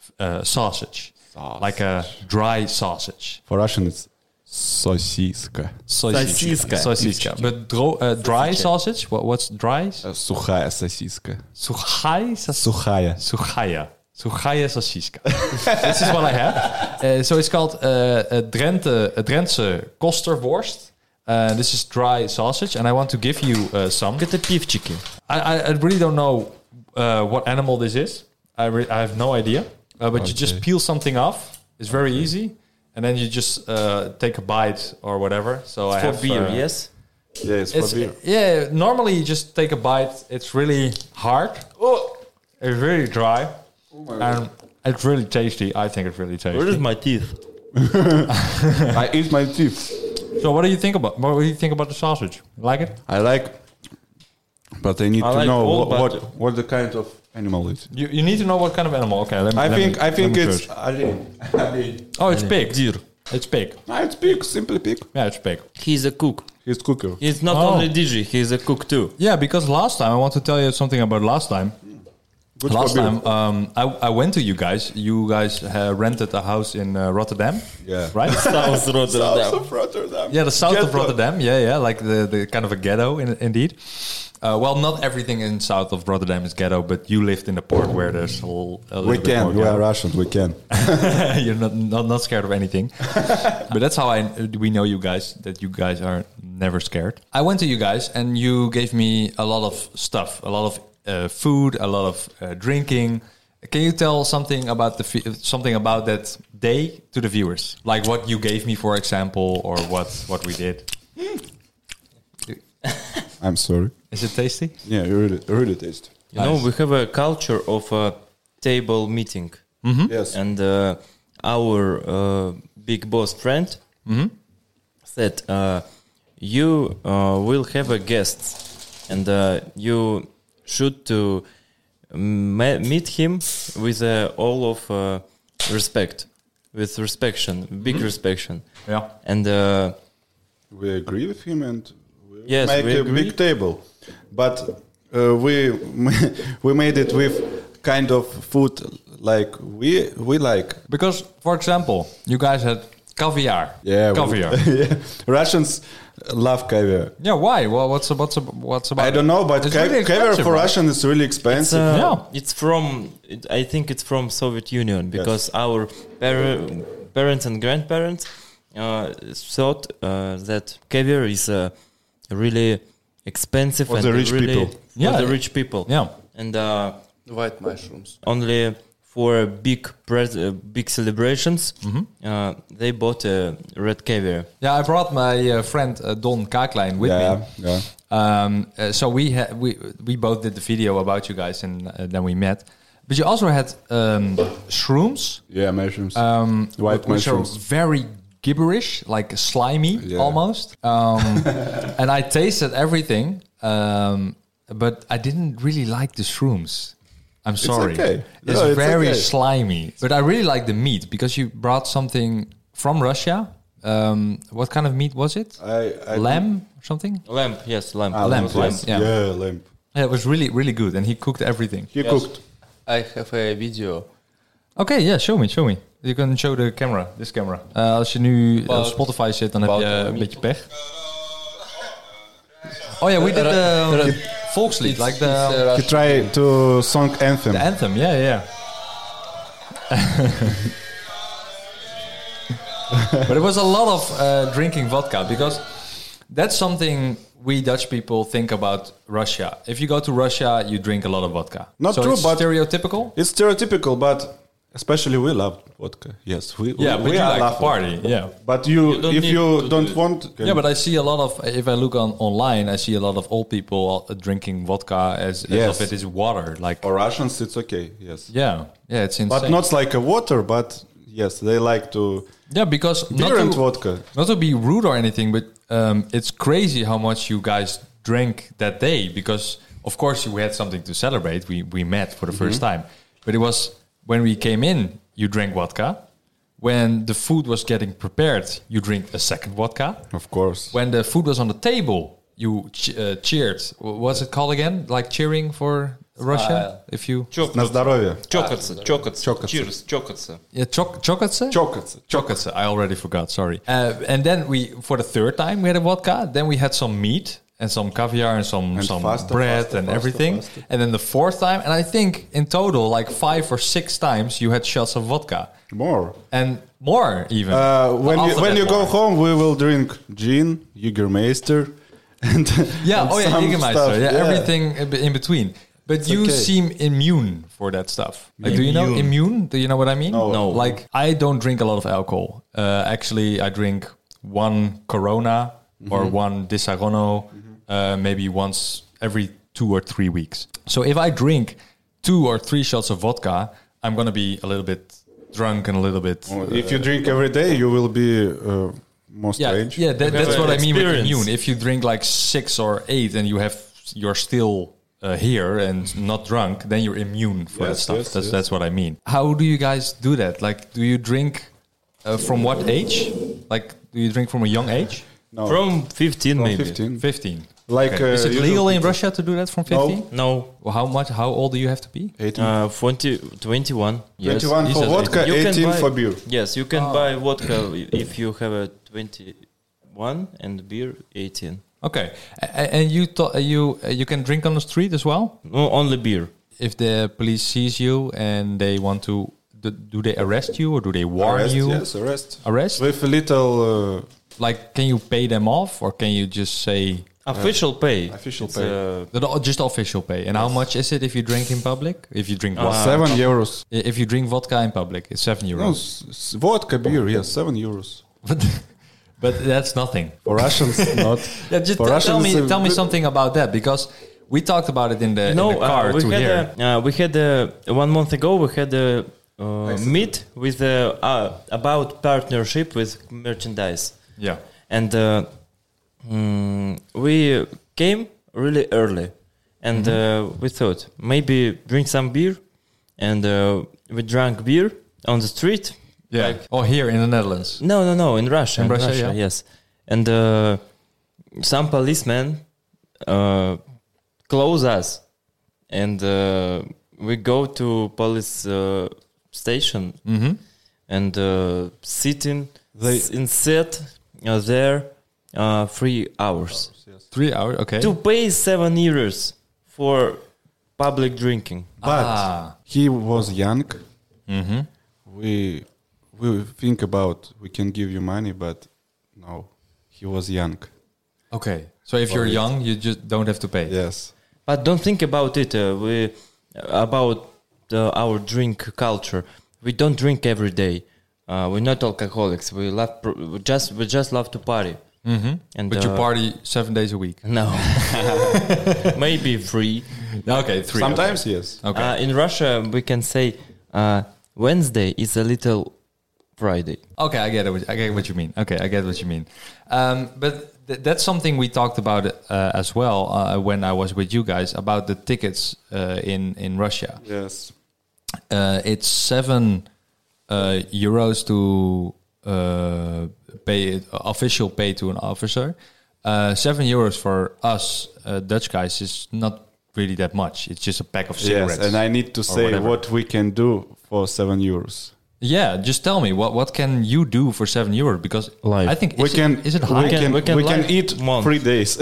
S1: f- uh, sausage, like a dry sausage.
S2: For Russian, it's сосиска.
S3: Sausage.
S1: Sausage. But dro- uh, dry sausage, what, what's dry?
S2: Uh, Сухая сосиска.
S1: Suchai sausage.
S2: Сухая.
S1: Suchaya. Suchaya Sassiska. this is what I have. Uh, so it's called uh, uh, Drenthe, uh, Drentse Kosterworst. Uh, this is dry sausage, and I want to give you uh, some.
S3: Котопивчики.
S1: I, I, I really don't know uh, what animal this is. I, re- I have no idea. Uh, but you just peel something off. It's very easy. And then you just uh, take a bite or whatever. So I
S3: For
S1: have
S3: beer,
S1: uh,
S3: yes?
S2: Yeah, it's,
S1: it's,
S2: for beer.
S1: Yeah, normally you just take a bite. It's really hard. Oh, it's really dry,
S2: Oh
S1: and it's really tasty. I think it's really
S3: Where
S1: tasty.
S3: is my teeth?
S2: I eat my teeth.
S1: So, what do you think about what do you think about the sausage? Like it?
S2: I like, but I need
S3: I
S2: to
S3: like
S2: know
S3: all,
S2: what,
S3: but-
S2: what what the kind of animal is.
S1: You, you need to know what kind of animal. Okay, let me,
S2: I
S1: let
S2: think
S1: me-
S2: I
S1: let
S2: think
S1: me
S2: it's
S1: search.
S2: Alien. Alien.
S1: oh, it's pig. It's pig.
S2: Ah, it's pig, simply pig.
S1: Yeah, it's pig.
S3: He's a cook.
S2: He's cooker.
S3: He's not
S1: Oh.
S3: only DJ, he's a cook too.
S1: Yeah, because last time I want to tell you something about last time.
S2: Good
S1: last
S2: for beer.
S1: time um, I, I went to you guys. You guys uh, rented a house in uh, Rotterdam.
S2: Yeah.
S1: Right.
S3: South
S2: South
S3: Rotterdam.
S2: of Rotterdam.
S1: Yeah, the south
S2: Get
S1: of Rotterdam. Yeah, yeah, like the, the kind of a ghetto, in, indeed. Uh, well, not everything in south of Rotterdam is ghetto, but you lived in a port where there's a, l- a little
S2: We
S1: bit more
S2: can. We
S1: ghetto.
S2: are Russians. We can.
S1: You're not, not not scared of anything. but that's how I we know you guys that you guys are never scared. I went to you guys and you gave me a lot of stuff, a lot of uh, food, a lot of uh, drinking. Can you tell something about the fe- something about that day to the viewers? Like what you gave me, for example, or what what we did.
S2: I'm sorry.
S1: Is it tasty?
S2: Yeah, you really, really taste.
S3: You know, we have a culture of a table meeting.
S1: Mm-hmm.
S2: Yes.
S3: And uh, our uh, big boss friend
S1: Mm-hmm.
S3: said, uh, "You uh, will have a guest, and uh, you should to ma- meet him with uh, all of uh, respect, with respection, big respection."
S1: Mm-hmm. Yeah.
S3: And uh,
S2: we agree with him and we
S3: Yes,
S2: make
S3: we
S2: a
S3: agree.
S2: big table but uh, we we made it with kind of food like we we like
S1: Because, for example, you guys had caviar.
S2: yeah we-
S1: caviar.
S2: yeah. russians love caviar
S1: yeah, why? Well, what's what's what's about?
S2: i don't know but
S1: It's
S2: ca-
S1: really
S2: caviar
S1: expensive,
S2: for
S1: right?
S2: russian is really
S3: it's,
S2: expensive
S3: uh,
S1: Yeah.
S3: it's from it, I think it's from Soviet Union because our par- parents and grandparents uh, thought uh, that caviar is a really expensive
S2: For
S3: and
S2: the rich
S3: really
S2: people.
S3: yeah,
S1: Yeah.
S3: the rich people.
S1: Yeah.
S3: and uh,
S4: White mushrooms.
S3: only for big pres- uh, big celebrations,
S1: Mm-hmm.
S3: uh, they bought a red caviar.
S1: Yeah, I brought my uh, friend uh, Don Kaklein with
S2: Yeah,
S1: me.
S2: yeah.
S1: Um, uh, so we ha- we we both did the video about you guys, and uh, then we met. But you also had um, shrooms,
S2: Yeah, mushrooms. Um, White
S1: which
S2: mushrooms.
S1: are very gibberish, like slimy
S2: Yeah.
S1: almost. Um, and I tasted everything, um, but I didn't really like the shrooms. I'm sorry,
S2: okay.
S1: It's
S2: No, it's
S1: very
S2: okay.
S1: slimy. But I really like the meat because you brought something from Russia. Um, what kind of meat was it?
S2: I, I
S1: lamb or something?
S3: Lamp, yes, lamp.
S1: Ah, lamp,
S3: lamp.
S1: yes.
S2: Yeah,
S1: Yeah.
S2: lamp.
S1: Yeah, it was really, really good, and he cooked everything.
S2: He cooked.
S4: I have a video.
S1: Oké, ja, show me, show me. You can show the camera, this camera. Eh, als je nu op Spotify zit, dan heb je eh, een beetje pech. Oh ja, we did the volkslied, like the,
S2: He tried to song anthem.
S1: the anthem, yeah, yeah. But it was a lot of eh, drinking vodka, because that's something we Dutch people think about Russia. If you go to Russia, you drink a lot of vodka.
S2: Not
S1: so
S2: true,
S1: it's
S2: but-
S1: stereotypical?
S2: It's stereotypical, but especially we love vodka. Yes, we
S1: Yeah,
S2: we,
S1: but
S2: we
S1: you
S2: are
S1: like to
S2: laughing.
S1: party. Yeah.
S2: But you,
S3: don't
S2: if
S3: need
S2: you
S3: to
S2: don't
S3: do it.
S2: want,
S1: Yeah, but I see a lot of. If I look on online, I see a lot of old people uh, drinking vodka as,
S2: Yes.
S1: as if it is water. Like,
S2: for Russians it's okay. Yes,
S1: yeah, yeah, it's insane.
S2: but not like a water. But yes, they like to
S1: yeah, because not
S2: beer and
S1: to,
S2: vodka.
S1: not to be rude or anything, but um, it's crazy how much you guys drank that day. Because of course we had something to celebrate. We we met for the first
S2: Mm-hmm.
S1: time, but it was when we came in. You drank vodka. When the food was getting prepared, you drink a second vodka.
S2: Of course,
S1: when the food was on the table, you ch- uh, cheered. Wh- What's it called again? Like cheering for Russia? If you
S2: на здоровье.
S3: Чокаться, чокаться,
S2: Чокаться.
S3: cheers, чокаться.
S1: yeah, chok chokatse?
S2: Чокаться.
S1: chokatse. I already forgot. Sorry. Uh, and then we, for the third time, we had a vodka. Then we had some meat and some caviar and some
S2: And
S1: some
S2: faster,
S1: bread
S2: faster,
S1: and
S2: faster,
S1: everything.
S2: faster.
S1: And then the fourth time, and I think in total like five or six times, you had shots of vodka
S2: More.
S1: and more even.
S2: Uh, when you,
S1: After
S2: when
S1: that
S2: you go
S1: more.
S2: home, we will drink gin, Jägermeister, and
S1: Yeah,
S2: and
S1: oh yeah,
S2: some
S1: Jägermeister.
S2: stuff.
S1: Yeah, everything in be- in between. But you
S2: okay.
S1: seem immune for that stuff. Like, do you know
S3: Immune.
S1: immune? Do you know what I mean?
S3: No.
S1: Like, I don't drink a lot of alcohol. Uh, actually, I drink one Corona or one Disaronno, uh, maybe once every two or three weeks. So if I drink two or three shots of vodka, I'm gonna be a little bit drunk and a little bit.
S2: If you drink every day, you will be uh, more
S1: Yeah,
S2: strange.
S1: yeah, that, that's
S3: have
S1: what I mean with
S3: experience.
S1: immune. If you drink like six or eight and you have you're still uh, here and not drunk, then you're immune for that
S2: Yes,
S1: stuff.
S2: yes,
S1: that's
S2: yes.
S1: that's what I mean. How do you guys do that? Like, do you drink uh, from what age? Like, do you drink from a young age?
S2: No,
S3: From 15
S2: from
S3: maybe.
S2: 15.
S1: Oh. Fifteen.
S2: Like, uh,
S1: is it
S2: usual
S1: legal in
S2: people.
S1: Russia to do that from
S2: No.
S1: fifteen?
S3: Oh. No,
S1: Well, how much? How old do you have to be?
S2: 18.
S3: uh, 20, 21. Yes.
S2: 21
S1: he
S2: for
S1: says
S2: vodka,
S3: You can
S2: 18
S3: buy-
S2: for beer.
S3: Yes, you can buy vodka if you have a 21 and beer 18.
S1: Okay, A- a- and you to- you uh, you can drink on the street as well.
S3: No, only beer.
S1: if the police sees you and they want to do, do they arrest you or do they warn
S2: Arrest,
S1: you
S2: Yes, arrest.
S1: Arrest?
S2: With a little uh,
S1: like can you pay them off or can you just say
S3: Uh, Official pay.
S2: official
S3: It's,
S2: pay.
S3: uh,
S1: the- the- just official pay and how much is it if you drink in public if you drink vodka
S2: 7 euros.
S1: I- if you drink vodka in public it's seven
S2: No,
S1: euros
S2: s- s- vodka, beer, yes, 7 euros.
S1: but, but that's nothing
S2: For Russians, not.
S1: yeah, just
S2: For
S1: t- tell
S2: Russians,
S1: me
S2: uh,
S1: tell me
S2: but-
S1: something about that because we talked about it in the, in
S3: no,
S1: the car
S3: uh, we,
S1: to
S3: had
S1: here
S3: A, uh, we had a, one month ago, we had a uh, meet with uh, uh, about partnership with merchandise.
S1: yeah
S3: and uh, mm, we came really early and uh, we thought maybe drink some beer and uh, we drank beer on the street
S1: yeah or here in the netherlands
S3: no no no in russia
S1: In Russia, yeah.
S3: yes and uh, some policemen uh, close us and uh, we go to police uh, station
S1: Mm-hmm.
S3: and uh, sitting
S2: They-
S3: s- in set uh, there uh, three hours
S1: three hours okay
S3: to pay seven euros for public drinking.
S2: But
S1: Ah.
S2: he was young.
S1: Mm-hmm.
S2: We we think about we can give you money, but no, he was young.
S1: okay So if you're
S2: it.
S1: young, you just don't have to pay.
S2: Yes.
S3: But don't think about it. Uh, we about uh, our drink culture. We don't drink every day. Uh, we're not alcoholics. We love pr- we just we just love to party. Mm-hmm. And
S1: But you
S3: uh,
S1: party seven days a week.
S3: No, maybe three.
S1: Okay, three.
S2: Sometimes yes.
S1: Okay.
S3: Uh, in Russia, we can say uh, Wednesday is a little Friday.
S1: Okay, I get it. what- I get what you mean. Okay, I get what you mean. Um, but th- that's something we talked about uh, as well uh, when I was with you guys about the tickets uh, in in Russia.
S2: Yes.
S1: Uh, it's seven uh, euros to uh, pay official pay to an officer. Uh, seven euros for us uh, Dutch guys is not really that much. It's just a pack of cigarettes.
S2: Yes, and I need to say
S1: whatever.
S2: what we can do for seven euros.
S1: yeah, just tell me what what can you do for seven euros? Because
S3: Live.
S1: I think
S2: We
S1: is it-
S2: can,
S1: is it
S2: we
S1: high?
S2: can,
S3: We can
S2: we can
S3: like
S2: eat
S3: month.
S2: three days.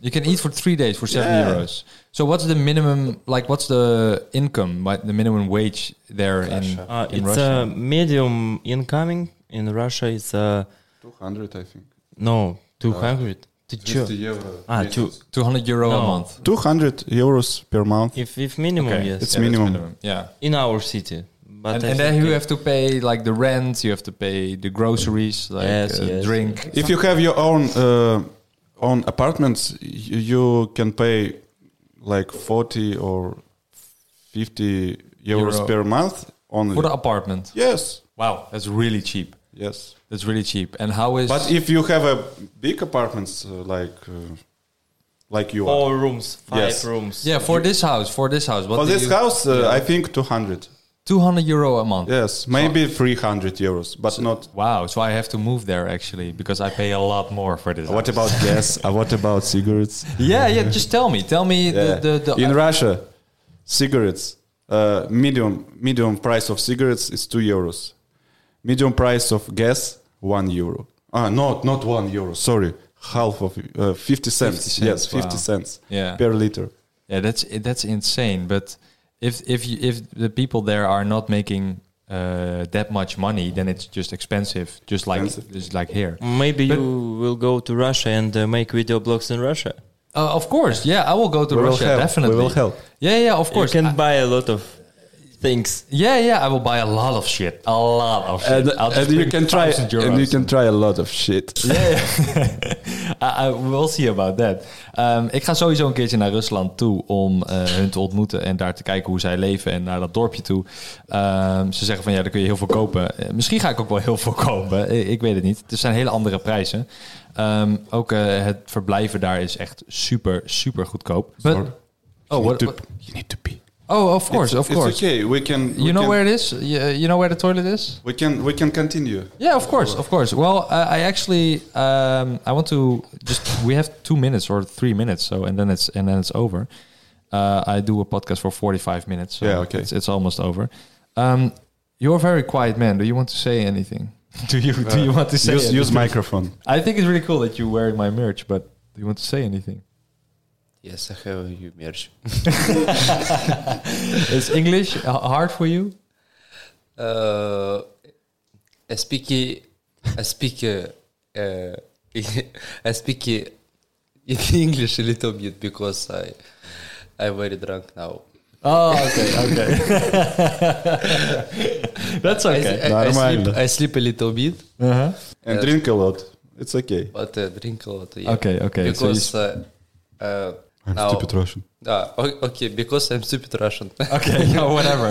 S1: You can eat for three days for seven
S2: Yeah.
S1: euros. So what's the minimum? Like, what's the income? What the minimum wage there in
S3: Uh,
S1: in
S3: it's a
S1: Russia?
S3: medium incoming in Russia. It's uh,
S2: 200, I think.
S3: no two hundred. Ты чё? А, two.
S1: Two hundred euro a
S3: No.
S1: month.
S2: 200 euros per month.
S3: If if minimum, yes.
S2: It's
S1: that's
S2: minimum.
S1: Yeah.
S3: in our city. But
S1: And,
S3: I
S1: and then
S3: think
S1: you
S3: it-
S1: have to pay like the rent. You have to pay the groceries, like
S3: Yes,
S1: uh,
S3: yes.
S1: drink.
S2: If you have your own uh, own apartments, y- you can pay like 40 or 50 euros
S1: Euro.
S2: per month only.
S1: for the apartment.
S2: yes,
S1: Wow, that's really cheap.
S2: yes.
S1: That's really cheap. And how is?
S2: But if you have a big apartments uh, like uh, like you are.
S3: four rooms, five
S2: Yes.
S3: rooms.
S1: yeah, for this house, for this house, what
S2: for
S1: do
S2: this
S1: you,
S2: house, uh, I think 200.
S1: two hundred euro a month.
S2: Yes, maybe 300 euros, but not.
S1: Wow, so I have to move there actually because I pay a lot more for this.
S2: What
S1: house.
S2: about gas? Uh, what about cigarettes?
S1: Yeah, yeah. Just tell me, tell me
S2: Yeah.
S1: the, the, the
S2: in Russia, cigarettes uh, medium medium price of cigarettes is two euros. Medium price of gas one euro. Ah, not not one euro. Sorry, half of uh, fifty cents.
S1: 50 cents,
S2: Yes, fifty
S1: wow.
S2: cents
S1: Yeah.
S2: per liter.
S1: Yeah, that's that's insane. But if if you, if the people there are not making uh, that much money, then it's just expensive, just like
S2: Expensive.
S1: just like here.
S3: Maybe
S1: But-
S3: you will go to Russia and uh, make video blogs in Russia.
S1: Uh, of course, yeah, I will go to
S2: We will
S1: Russia
S2: help. We
S1: definitely.
S2: will help.
S1: Yeah, yeah, of course.
S3: you can
S1: I-
S3: buy a lot of things.
S1: yeah, yeah, I will buy a lot of shit, a lot of shit.
S2: And,
S1: I'll just
S2: and you
S1: bring
S2: can try
S1: 1,000
S2: and you
S1: euros.
S2: can try a lot of shit.
S1: Ja, ja. I, I will see about that. Ehm, ik ga sowieso een keertje naar Rusland toe om eh, hun te ontmoeten en daar te kijken hoe zij leven en naar dat dorpje toe. Ehm, ze zeggen van ja, daar kun je heel veel kopen. Eh, misschien ga ik ook wel heel veel kopen. Eh, Ik, weet het niet. Het zijn hele andere prijzen. Ehm, ook eh, het verblijven daar is echt super, super goedkoop. But- oh, what, what-
S2: You need to pee.
S1: oh, of course, of
S2: It's
S1: course.
S2: okay. We can.
S1: You
S2: we
S1: know
S2: can-
S1: where it is? You, you know where the toilet is?
S2: we can we can continue.
S1: Yeah, of course, of course. Well, uh, I actually um, I want to just we have two minutes or three minutes, so and then it's and then it's over. Uh, I do a podcast for forty five minutes. So
S2: Yeah, okay.
S1: It's, it's almost over. Um, you're a very quiet man. Do you want to say anything? do you do you want to say?
S2: Uh, Use, use
S1: anything?
S2: microphone.
S1: I think it's really cool that you're wearing my merch, but do you want to say anything?
S4: Yes, I have you merch.
S1: Is English h- hard for you?
S4: Uh, I speak. I speak. Uh, uh, I speak uh, in English a little bit because I I'm very drunk now.
S1: Oh, okay, okay. That's
S4: I-
S1: okay.
S4: I, I,
S2: Нормально.
S4: sleep, I sleep a little bit,
S1: Uh-huh.
S2: And drink a lot. It's okay.
S4: but I drink a lot. yeah.
S1: Okay, okay, so you
S4: Because uh, uh,
S2: I'm
S4: now,
S2: stupid Russian.
S4: Ah, o- okay, because I'm stupid Russian.
S1: Oké, ja, whatever.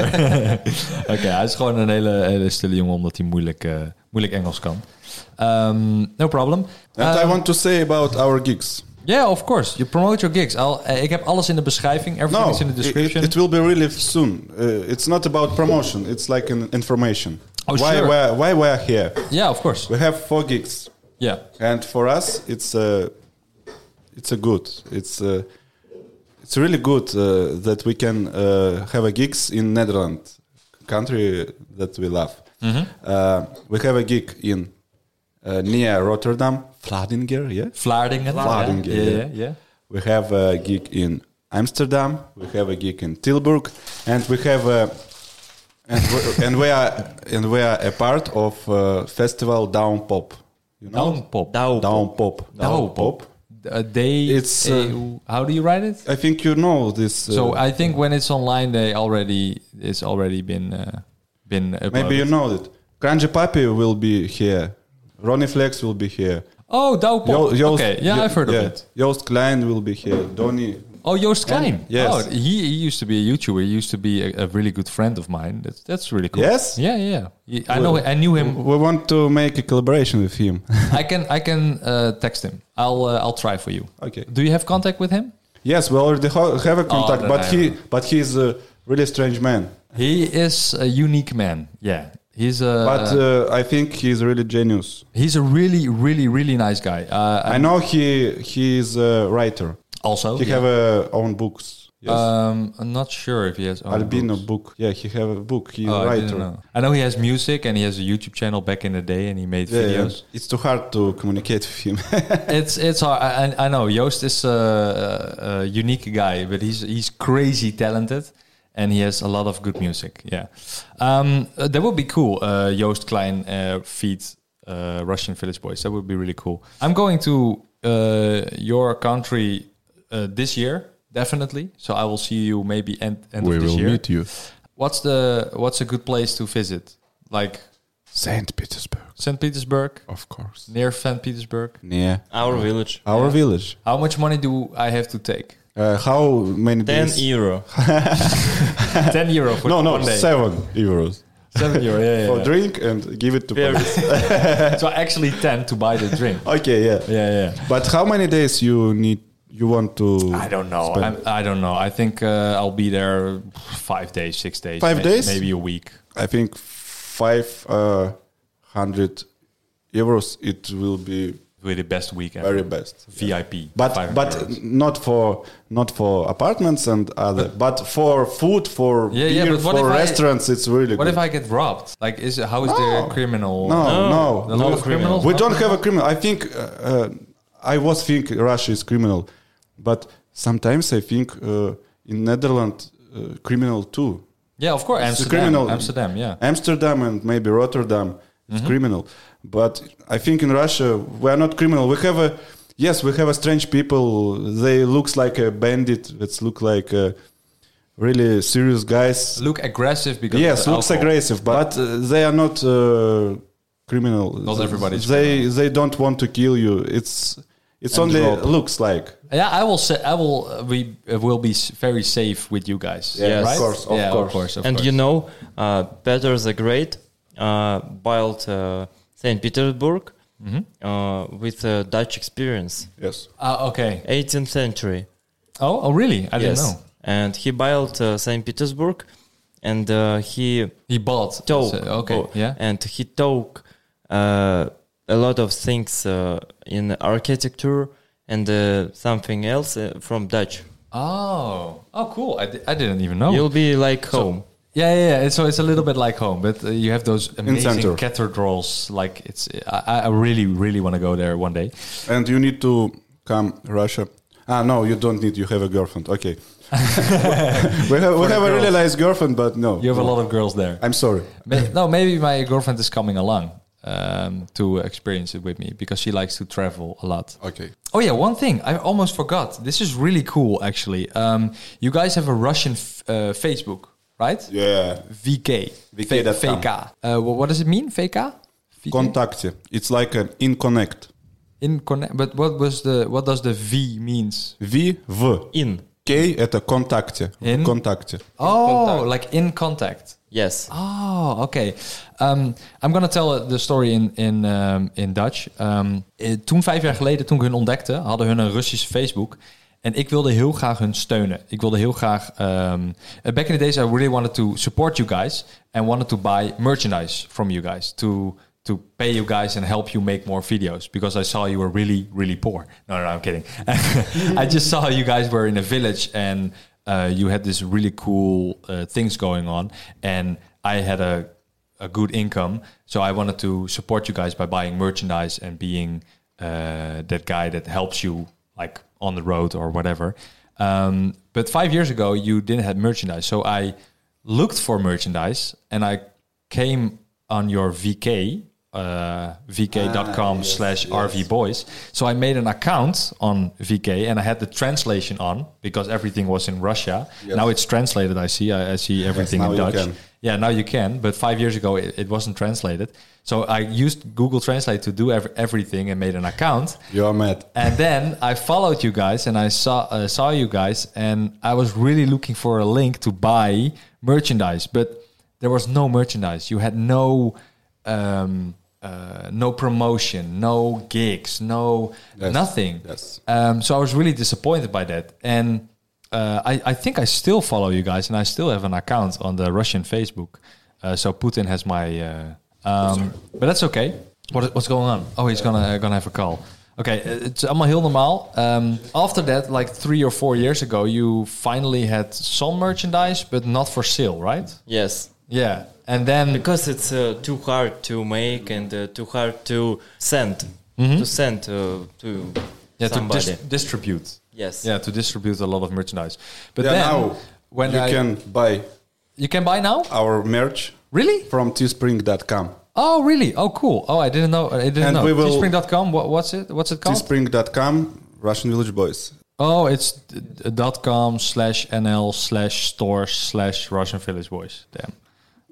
S1: Oké, hij is gewoon een hele, hele stille jongen omdat hij moeilijk, eh, moeilijk Engels kan. Ehm, no problem.
S2: And I
S1: Ehm,
S2: want to say about our gigs.
S1: yeah, of course. You promote your gigs. I'll- eh, ik heb alles in de beschrijving. Everything
S2: No,
S1: is in the
S2: Nou, it-
S1: description.
S2: It, it will be really soon. Uh, it's not about promotion. It's like an information.
S1: Oh,
S2: why,
S1: sure.
S2: why, why we're here?
S1: yeah, of course.
S2: We have four gigs,
S1: Yeah.
S2: and for us, it's a, it's a good. It's a, it's really good uh, that we can uh, have a gigs in Netherlands, country that we love.
S1: Mm-hmm.
S2: Uh, we have a gig in uh, near Rotterdam, Vlaardingen. Yeah,
S1: Vlaardingen.
S2: Vlaardingen,
S1: Ja, ja,
S2: ja.
S1: ja.
S2: we have a gig in Amsterdam. We have a gig in Tilburg, and we have a and we, and we are and we are a part of uh, festival Down Pop. You know?
S1: Down pop.
S2: Down
S3: Dao.
S2: Nou, Pop.
S1: Down Pop. eh, a day.
S2: It's, eh, uh,
S1: a- E, how do you write it?
S2: I think you know this. uh,
S1: so I think when it's online, they already it's already been uh, been uploaded.
S2: maybe you know it. Grunge Papi will be here. Ronnie Flex will be here.
S1: Oh,
S2: Jo-
S1: Douwpop.
S2: Joost-
S1: okay, yeah,
S2: Jo-
S1: I've heard
S2: yeah.
S1: of it.
S2: Joost Klein will be here. Donny.
S1: Oh, Joost Klein.
S2: yes.
S1: Oh, he, he used to be a YouTuber. He used to be a, a really good friend of mine. That's, that's really cool.
S2: Yes?
S1: Yeah, yeah. He- I know. I knew him.
S2: We want to make a collaboration with him.
S1: I can. I can uh, text him. I'll. Uh, I'll try for you.
S2: Okay.
S1: Do you have contact with him?
S2: yes, we already ho- have a contact,
S1: Oh, then
S2: but
S1: I Uh,
S2: he but he is a really strange man.
S1: He is a unique man. Yeah. He's a.
S2: But uh, I think he is really genius.
S1: he's a really, really, really nice guy. Uh,
S2: I know he he is a writer.
S1: also,
S2: He
S1: yeah.
S2: have uh, own books. Yes.
S1: um, I'm not sure if he has. own
S2: Albino
S1: books.
S2: book. Yeah, he have a book. He
S1: Oh, I, didn't
S2: writer.
S1: know. I know he has music and he has a YouTube channel back in the day and he made
S2: Yeah, yeah.
S1: videos.
S2: it's too hard to communicate with him.
S1: it's it's hard. I, I- I know Joost is uh, a, a unique guy, but he's he's crazy talented, and he has a lot of good music. Yeah, um, uh, that would be cool. Uh, Joost Klein uh, feat uh, Russian Village Boys. That would be really cool. I'm going to uh, your country uh, this year definitely. So I will see you maybe end end of this year.
S2: you.
S1: What's the what's a good place to visit? Like
S2: Saint Petersburg,
S1: St. Petersburg,
S2: of course.
S1: near St. Petersburg.
S2: Yeah.
S3: Our village.
S2: Our village.
S1: How much money do I have to take?
S2: Uh, how many
S3: 10
S2: days?
S3: euro.
S1: 10 euro for
S2: no, no,
S1: e- one day.
S2: seven euros
S1: 7 euro, yeah, yeah,
S2: for
S1: yeah.
S2: drink and give it to
S3: Very-
S2: police.
S1: So actually 10 to buy the drink.
S2: Okay, yeah.
S1: Yeah, yeah.
S2: But how many days you need? You want to?
S1: I don't know.
S2: spend?
S1: I'm, I don't know. I think uh, I'll be there five days, six days.
S2: Five
S1: may-
S2: days?
S1: Maybe a week.
S2: I think five uh, hundred euros. It will be
S1: With the best week ever.
S2: very best.
S1: VIP.
S2: But
S1: 500
S2: but
S1: euros.
S2: not for not for apartments and other. But, for food, for
S1: Yeah, yeah,
S2: beer,
S1: but what
S2: for
S1: if I-
S2: restaurants, it's really.
S1: What
S2: good.
S1: if I get robbed? Like, is how is there a criminal?
S2: No, no,
S1: A lot of criminals?
S2: We
S1: No?
S2: don't have a criminal. I think uh, uh, I was think Russia is criminal, but sometimes I think uh, in Netherlands uh, criminal too.
S1: Yeah, of course.
S2: It's a
S1: Amsterdam.
S2: criminal.
S1: Amsterdam, yeah.
S2: Amsterdam and maybe Rotterdam is criminal, but I think in Russia we are not criminal. We have a yes, we have a strange people. They looks like a bandit. Let's look like a really serious guys.
S1: Look aggressive because. of
S2: Yes,
S1: the
S2: looks
S1: alcohol.
S2: aggressive, but uh, they are not uh, criminal.
S1: Not everybody's
S2: They they don't want to kill you. It's it's only
S1: rob.
S2: looks like.
S1: Yeah, I will say I will. Uh, we uh, will be s- very safe with you guys.
S2: Yeah, of
S1: right?
S2: course, of
S1: yeah,
S2: course.
S1: of course, of
S3: and
S1: course.
S3: you know, uh, better the great, uh, built uh, St. Petersburg
S1: Mm-hmm.
S3: uh, with a Dutch experience,
S2: Yes.
S1: Ah, okay.
S3: 18th century.
S1: Oh, oh, really? I didn't know.
S3: And he built uh, St. Petersburg and uh, he
S1: He bought.
S3: took,
S1: So, okay.
S3: oh,
S1: yeah.
S3: and he took uh, a lot of things uh, in architecture and uh, something else uh, from Dutch.
S1: Oh. Oh, cool. I, di- I didn't even know.
S3: You'll be like home.
S1: yeah, yeah, yeah. So it's a little bit like home, but uh, you have those amazing
S2: center.
S1: cathedrals. Like it's. I, I really, really want to go there one day.
S2: And you need to come Russia. Ah no, you don't need. You have a girlfriend. Okay. we have we have a really nice girlfriend, but no.
S1: You have a lot of girls there.
S2: I'm sorry.
S1: May- no, maybe my girlfriend is coming along um, to experience it with me because she likes to travel a lot.
S2: Okay.
S1: Oh yeah, one thing I almost forgot. This is really cool, actually. Um, you guys have a Russian f- uh, Facebook, right?
S2: Yeah.
S1: VK.
S2: VK dot com.
S1: VK. Uh, wh- what does it mean? VK. VK?
S2: Contacte. It's like an in connect.
S1: In connect. But what was the what does the V means?
S2: V в
S3: In.
S2: K это контакте.
S1: In?
S2: Контакте.
S1: Oh, like in contact.
S3: Yes.
S1: Oh, okay. Um, I'm gonna tell the story in, in, um, in Dutch. Um, eh, toen vijf jaar geleden, toen ik hun ontdekte, hadden hun een Russische Facebook. En ik wilde heel graag hun steunen. Ik wilde heel graag... um, eh, back in the days, I really wanted to support you guys. And wanted to buy merchandise from you guys. To, to pay you guys and help you make more videos. Because I saw you were really, really poor. No, no, no I'm kidding. I just saw you guys were in a village. And uh, you had this really cool uh, things going on. And I had a a good income. So I wanted to support you guys by buying merchandise and being uh, that guy that helps you like on the road or whatever. Um, but five years ago, you didn't have merchandise. So I looked for merchandise and I came on your VK uh,
S2: Ah,
S1: vk.com slash rvboys. So I made an account on VK and I had the translation on because everything was in Russia. Now it's translated, I see. I, I see everything
S2: now
S1: in
S2: you
S1: Dutch.
S2: can.
S1: Yeah, now you can. But five years ago, it, it wasn't translated. So I used Google Translate to do ev- everything and made an account.
S2: You are mad.
S1: And then I followed you guys and I saw uh, saw you guys and I was really looking for a link to buy merchandise, but there was no merchandise. You had no um, uh, no promotion, no gigs, no nothing.
S2: yes.
S1: Um, so I was really disappointed by that. And uh, I, I think I still follow you guys and I still have an account on the Russian Facebook. Uh, so Putin has my. Uh, um, but that's okay. What, what's going on? Oh, he's gonna gonna have a call. Okay, eh, het is allemaal heel normaal. Um, after that, like three or four years ago, you finally had some merchandise, but not for sale, right?
S3: Yes.
S1: Yeah. And then,
S3: Because it's uh, too hard to make and uh, too hard to send. To send uh, to
S1: Mm-hmm. yeah, to
S3: somebody.
S1: dis- distribute.
S3: yes.
S1: Yeah, to distribute a lot of merchandise. But
S2: Yeah,
S1: then,
S2: now
S1: when
S2: you
S1: I-
S2: can buy
S1: you can buy now.
S2: our merch
S1: Really?
S2: from teespring.com.
S1: Oh, really? Oh, cool. Oh, I didn't know. I didn't
S2: And
S1: know.
S2: we will-
S1: Teespring.com. What, what's it? What's it called?
S2: Teespring.com, Russian Village Boys.
S1: Oh, it's d- d- dot .com slash NL slash store slash Russian Village Boys. Damn.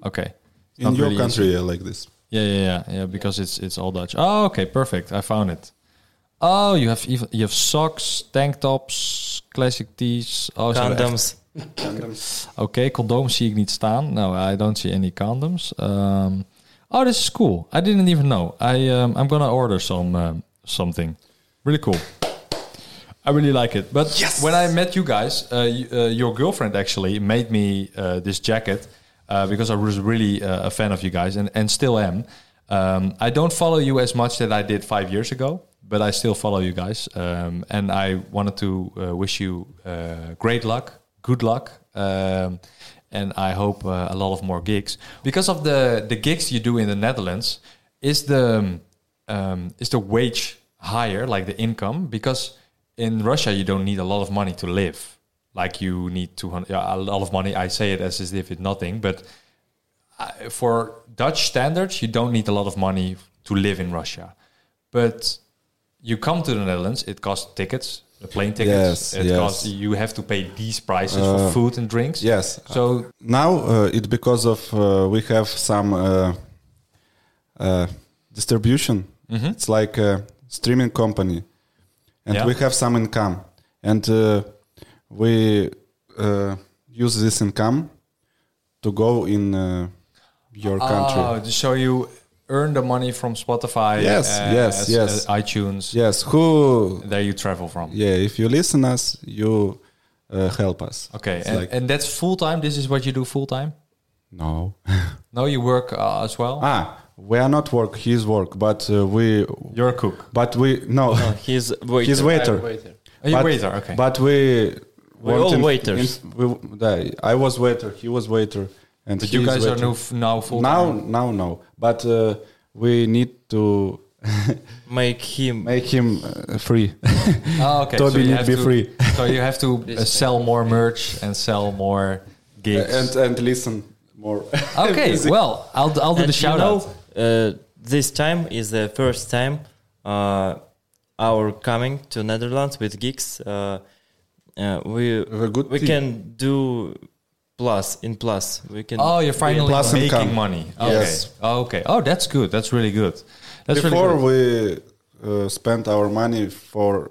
S1: Okay. It's
S2: In
S1: not
S2: your
S1: really
S2: country,
S1: easy.
S2: uh, like this.
S1: Yeah, yeah, yeah, yeah. Because it's it's all Dutch. Oh, okay, perfect. I found it. Oh, you have even you have socks, tank tops, classic tees. Oh, ze hebben echt-
S3: Condoms.
S1: Oké, condooms zie ik niet staan. No, I don't see any condoms. Um, oh, this is cool. I didn't even know. I um, I'm gonna order some um, something. Really cool. I really like it. But when I met you guys, uh, you, uh, your girlfriend actually made me uh, this jacket uh, because I was really uh, a fan of you guys and, and still am. Um, I don't follow you as much that I did five years ago, but I still follow you guys. Um, and I wanted to uh, wish you uh, great luck, good luck. Um, and I hope uh, a lot of more gigs because of the the gigs you do in the Netherlands. Is the um, is the wage higher, like the income? Because in Russia, you don't need a lot of money to live. Like you need 200, yeah, a lot of money. I say it as if it's nothing, but I- for Dutch standards, you don't need a lot of money to live in Russia. But you come to the Netherlands, it costs tickets, the plane tickets.
S2: Yes,
S1: it
S2: yes. Uh,
S1: costs, you have to pay these prices for food and drinks.
S2: yes.
S1: So
S2: Now uh, it's because of uh, we have some uh, uh, distribution. It's like a streaming company,
S1: Mm-hmm.
S2: and
S1: Yeah.
S2: we have some income, and uh, we uh, use this income to go in uh, your
S1: Oh,
S2: country.
S1: so you earn the money from Spotify,
S2: Yes, yes, yes.
S1: uh, iTunes.
S2: Yes, who?
S1: There you travel from.
S2: Yeah, if you listen us, you uh, help us.
S1: Okay,
S2: It's
S1: and,
S2: like-
S1: and that's full time. This is what you do full time.
S2: no.
S1: No, you work uh, as well.
S2: ah, we are not work. His work, but uh, we.
S1: You're a cook.
S2: But we no.
S3: He's waiter.
S2: He's waiter.
S4: Waiter.
S1: Oh, you're
S2: But-
S1: waiter. Okay.
S2: But we
S3: We're all waiters.
S2: we, the- I was waiter. He was waiter. And
S1: But
S2: he
S1: you
S2: is
S1: guys are
S2: waiter.
S1: new f- now full
S2: now
S1: time.
S2: now no. But uh, we need to
S3: Make him.
S2: make him uh, free.
S1: Oh, okay.
S2: Toby
S1: you
S2: need
S1: have
S2: be
S1: to-
S2: free.
S1: so you have to uh, sell more merch and sell more gigs.
S2: and and listen more.
S1: okay. Well, I'll d- I'll do Oh,
S3: And
S1: the shout out.
S3: You know, uh, this time is the first time uh, our coming to Netherlands with gigs. Uh, uh, we
S2: have a good
S3: we
S2: team.
S3: can do plus in plus. We can.
S1: Oh, you're finally
S2: Plus
S1: making
S2: income.
S1: money. Okay.
S2: Yes.
S1: Okay. Oh, that's good. That's really good. That's
S2: Before
S1: really good.
S2: we uh, spent our money for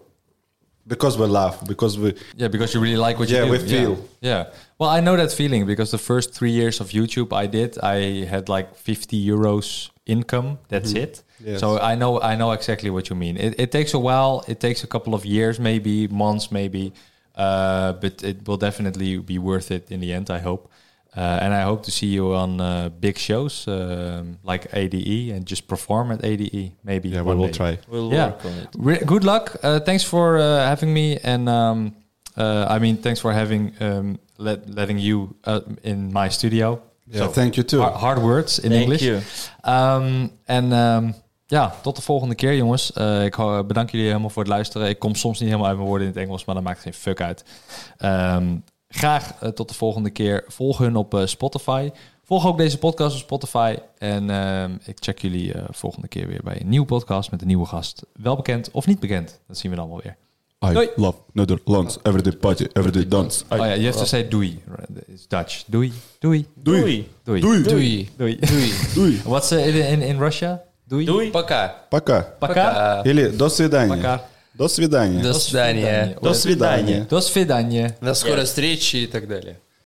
S2: because we love because we
S1: Yeah, because you really like what
S2: Yeah,
S1: you do.
S2: we feel.
S1: Yeah. Well, I know that feeling because the first three years of YouTube I did, I had like 50 euros income. That's it.
S2: Mm-hmm. Yes.
S1: So I know I know exactly what you mean. It, it takes a while. It takes a couple of years, maybe months, maybe. Uh, but it will definitely be worth it in the end. I hope. Uh, and I hope to see you on uh, big shows um, like ADE and just perform at ADE. Maybe
S2: yeah we
S1: one
S2: will
S1: day.
S2: try.
S3: We'll
S1: Yeah.
S3: work on it.
S1: Re- good luck. Uh, thanks for uh, having me, and um, uh, I mean, thanks for having um, let, letting you uh, in my studio.
S2: Yeah, thank you too.
S1: Har- Hard, words in
S3: Thank
S1: English.
S3: you.
S1: Um, en ehm, ja, tot de volgende keer, jongens. Eh, ik ho- bedank jullie helemaal voor het luisteren. Ik kom soms niet helemaal uit mijn woorden in het Engels, maar dat maakt geen fuck uit. Ehm, graag eh, tot de volgende keer. Volg hun op eh, Spotify. Volg ook deze podcast op Spotify. En ehm, ik check jullie eh, volgende keer weer bij een nieuwe podcast met een nieuwe gast. Wel bekend of niet bekend, dat zien we dan wel weer.
S2: I
S1: Doei.
S2: love Netherlands. Everyday party, everyday dance. I
S1: Oh ja, you have to say doei. Right, It's Dutch. Doei. Doei.
S2: Doei.
S1: Doei.
S2: Doei.
S4: Doei.
S1: Doei.
S2: Doei.
S1: What's uh, in, in, in Russia? Doei.
S4: Пока.
S2: Пока.
S1: Пока.
S2: Или до свидания.
S1: Пока.
S2: До свидания.
S4: До свидания.
S2: До свидания.
S1: До свидания.
S4: До скорой встречи и так далее.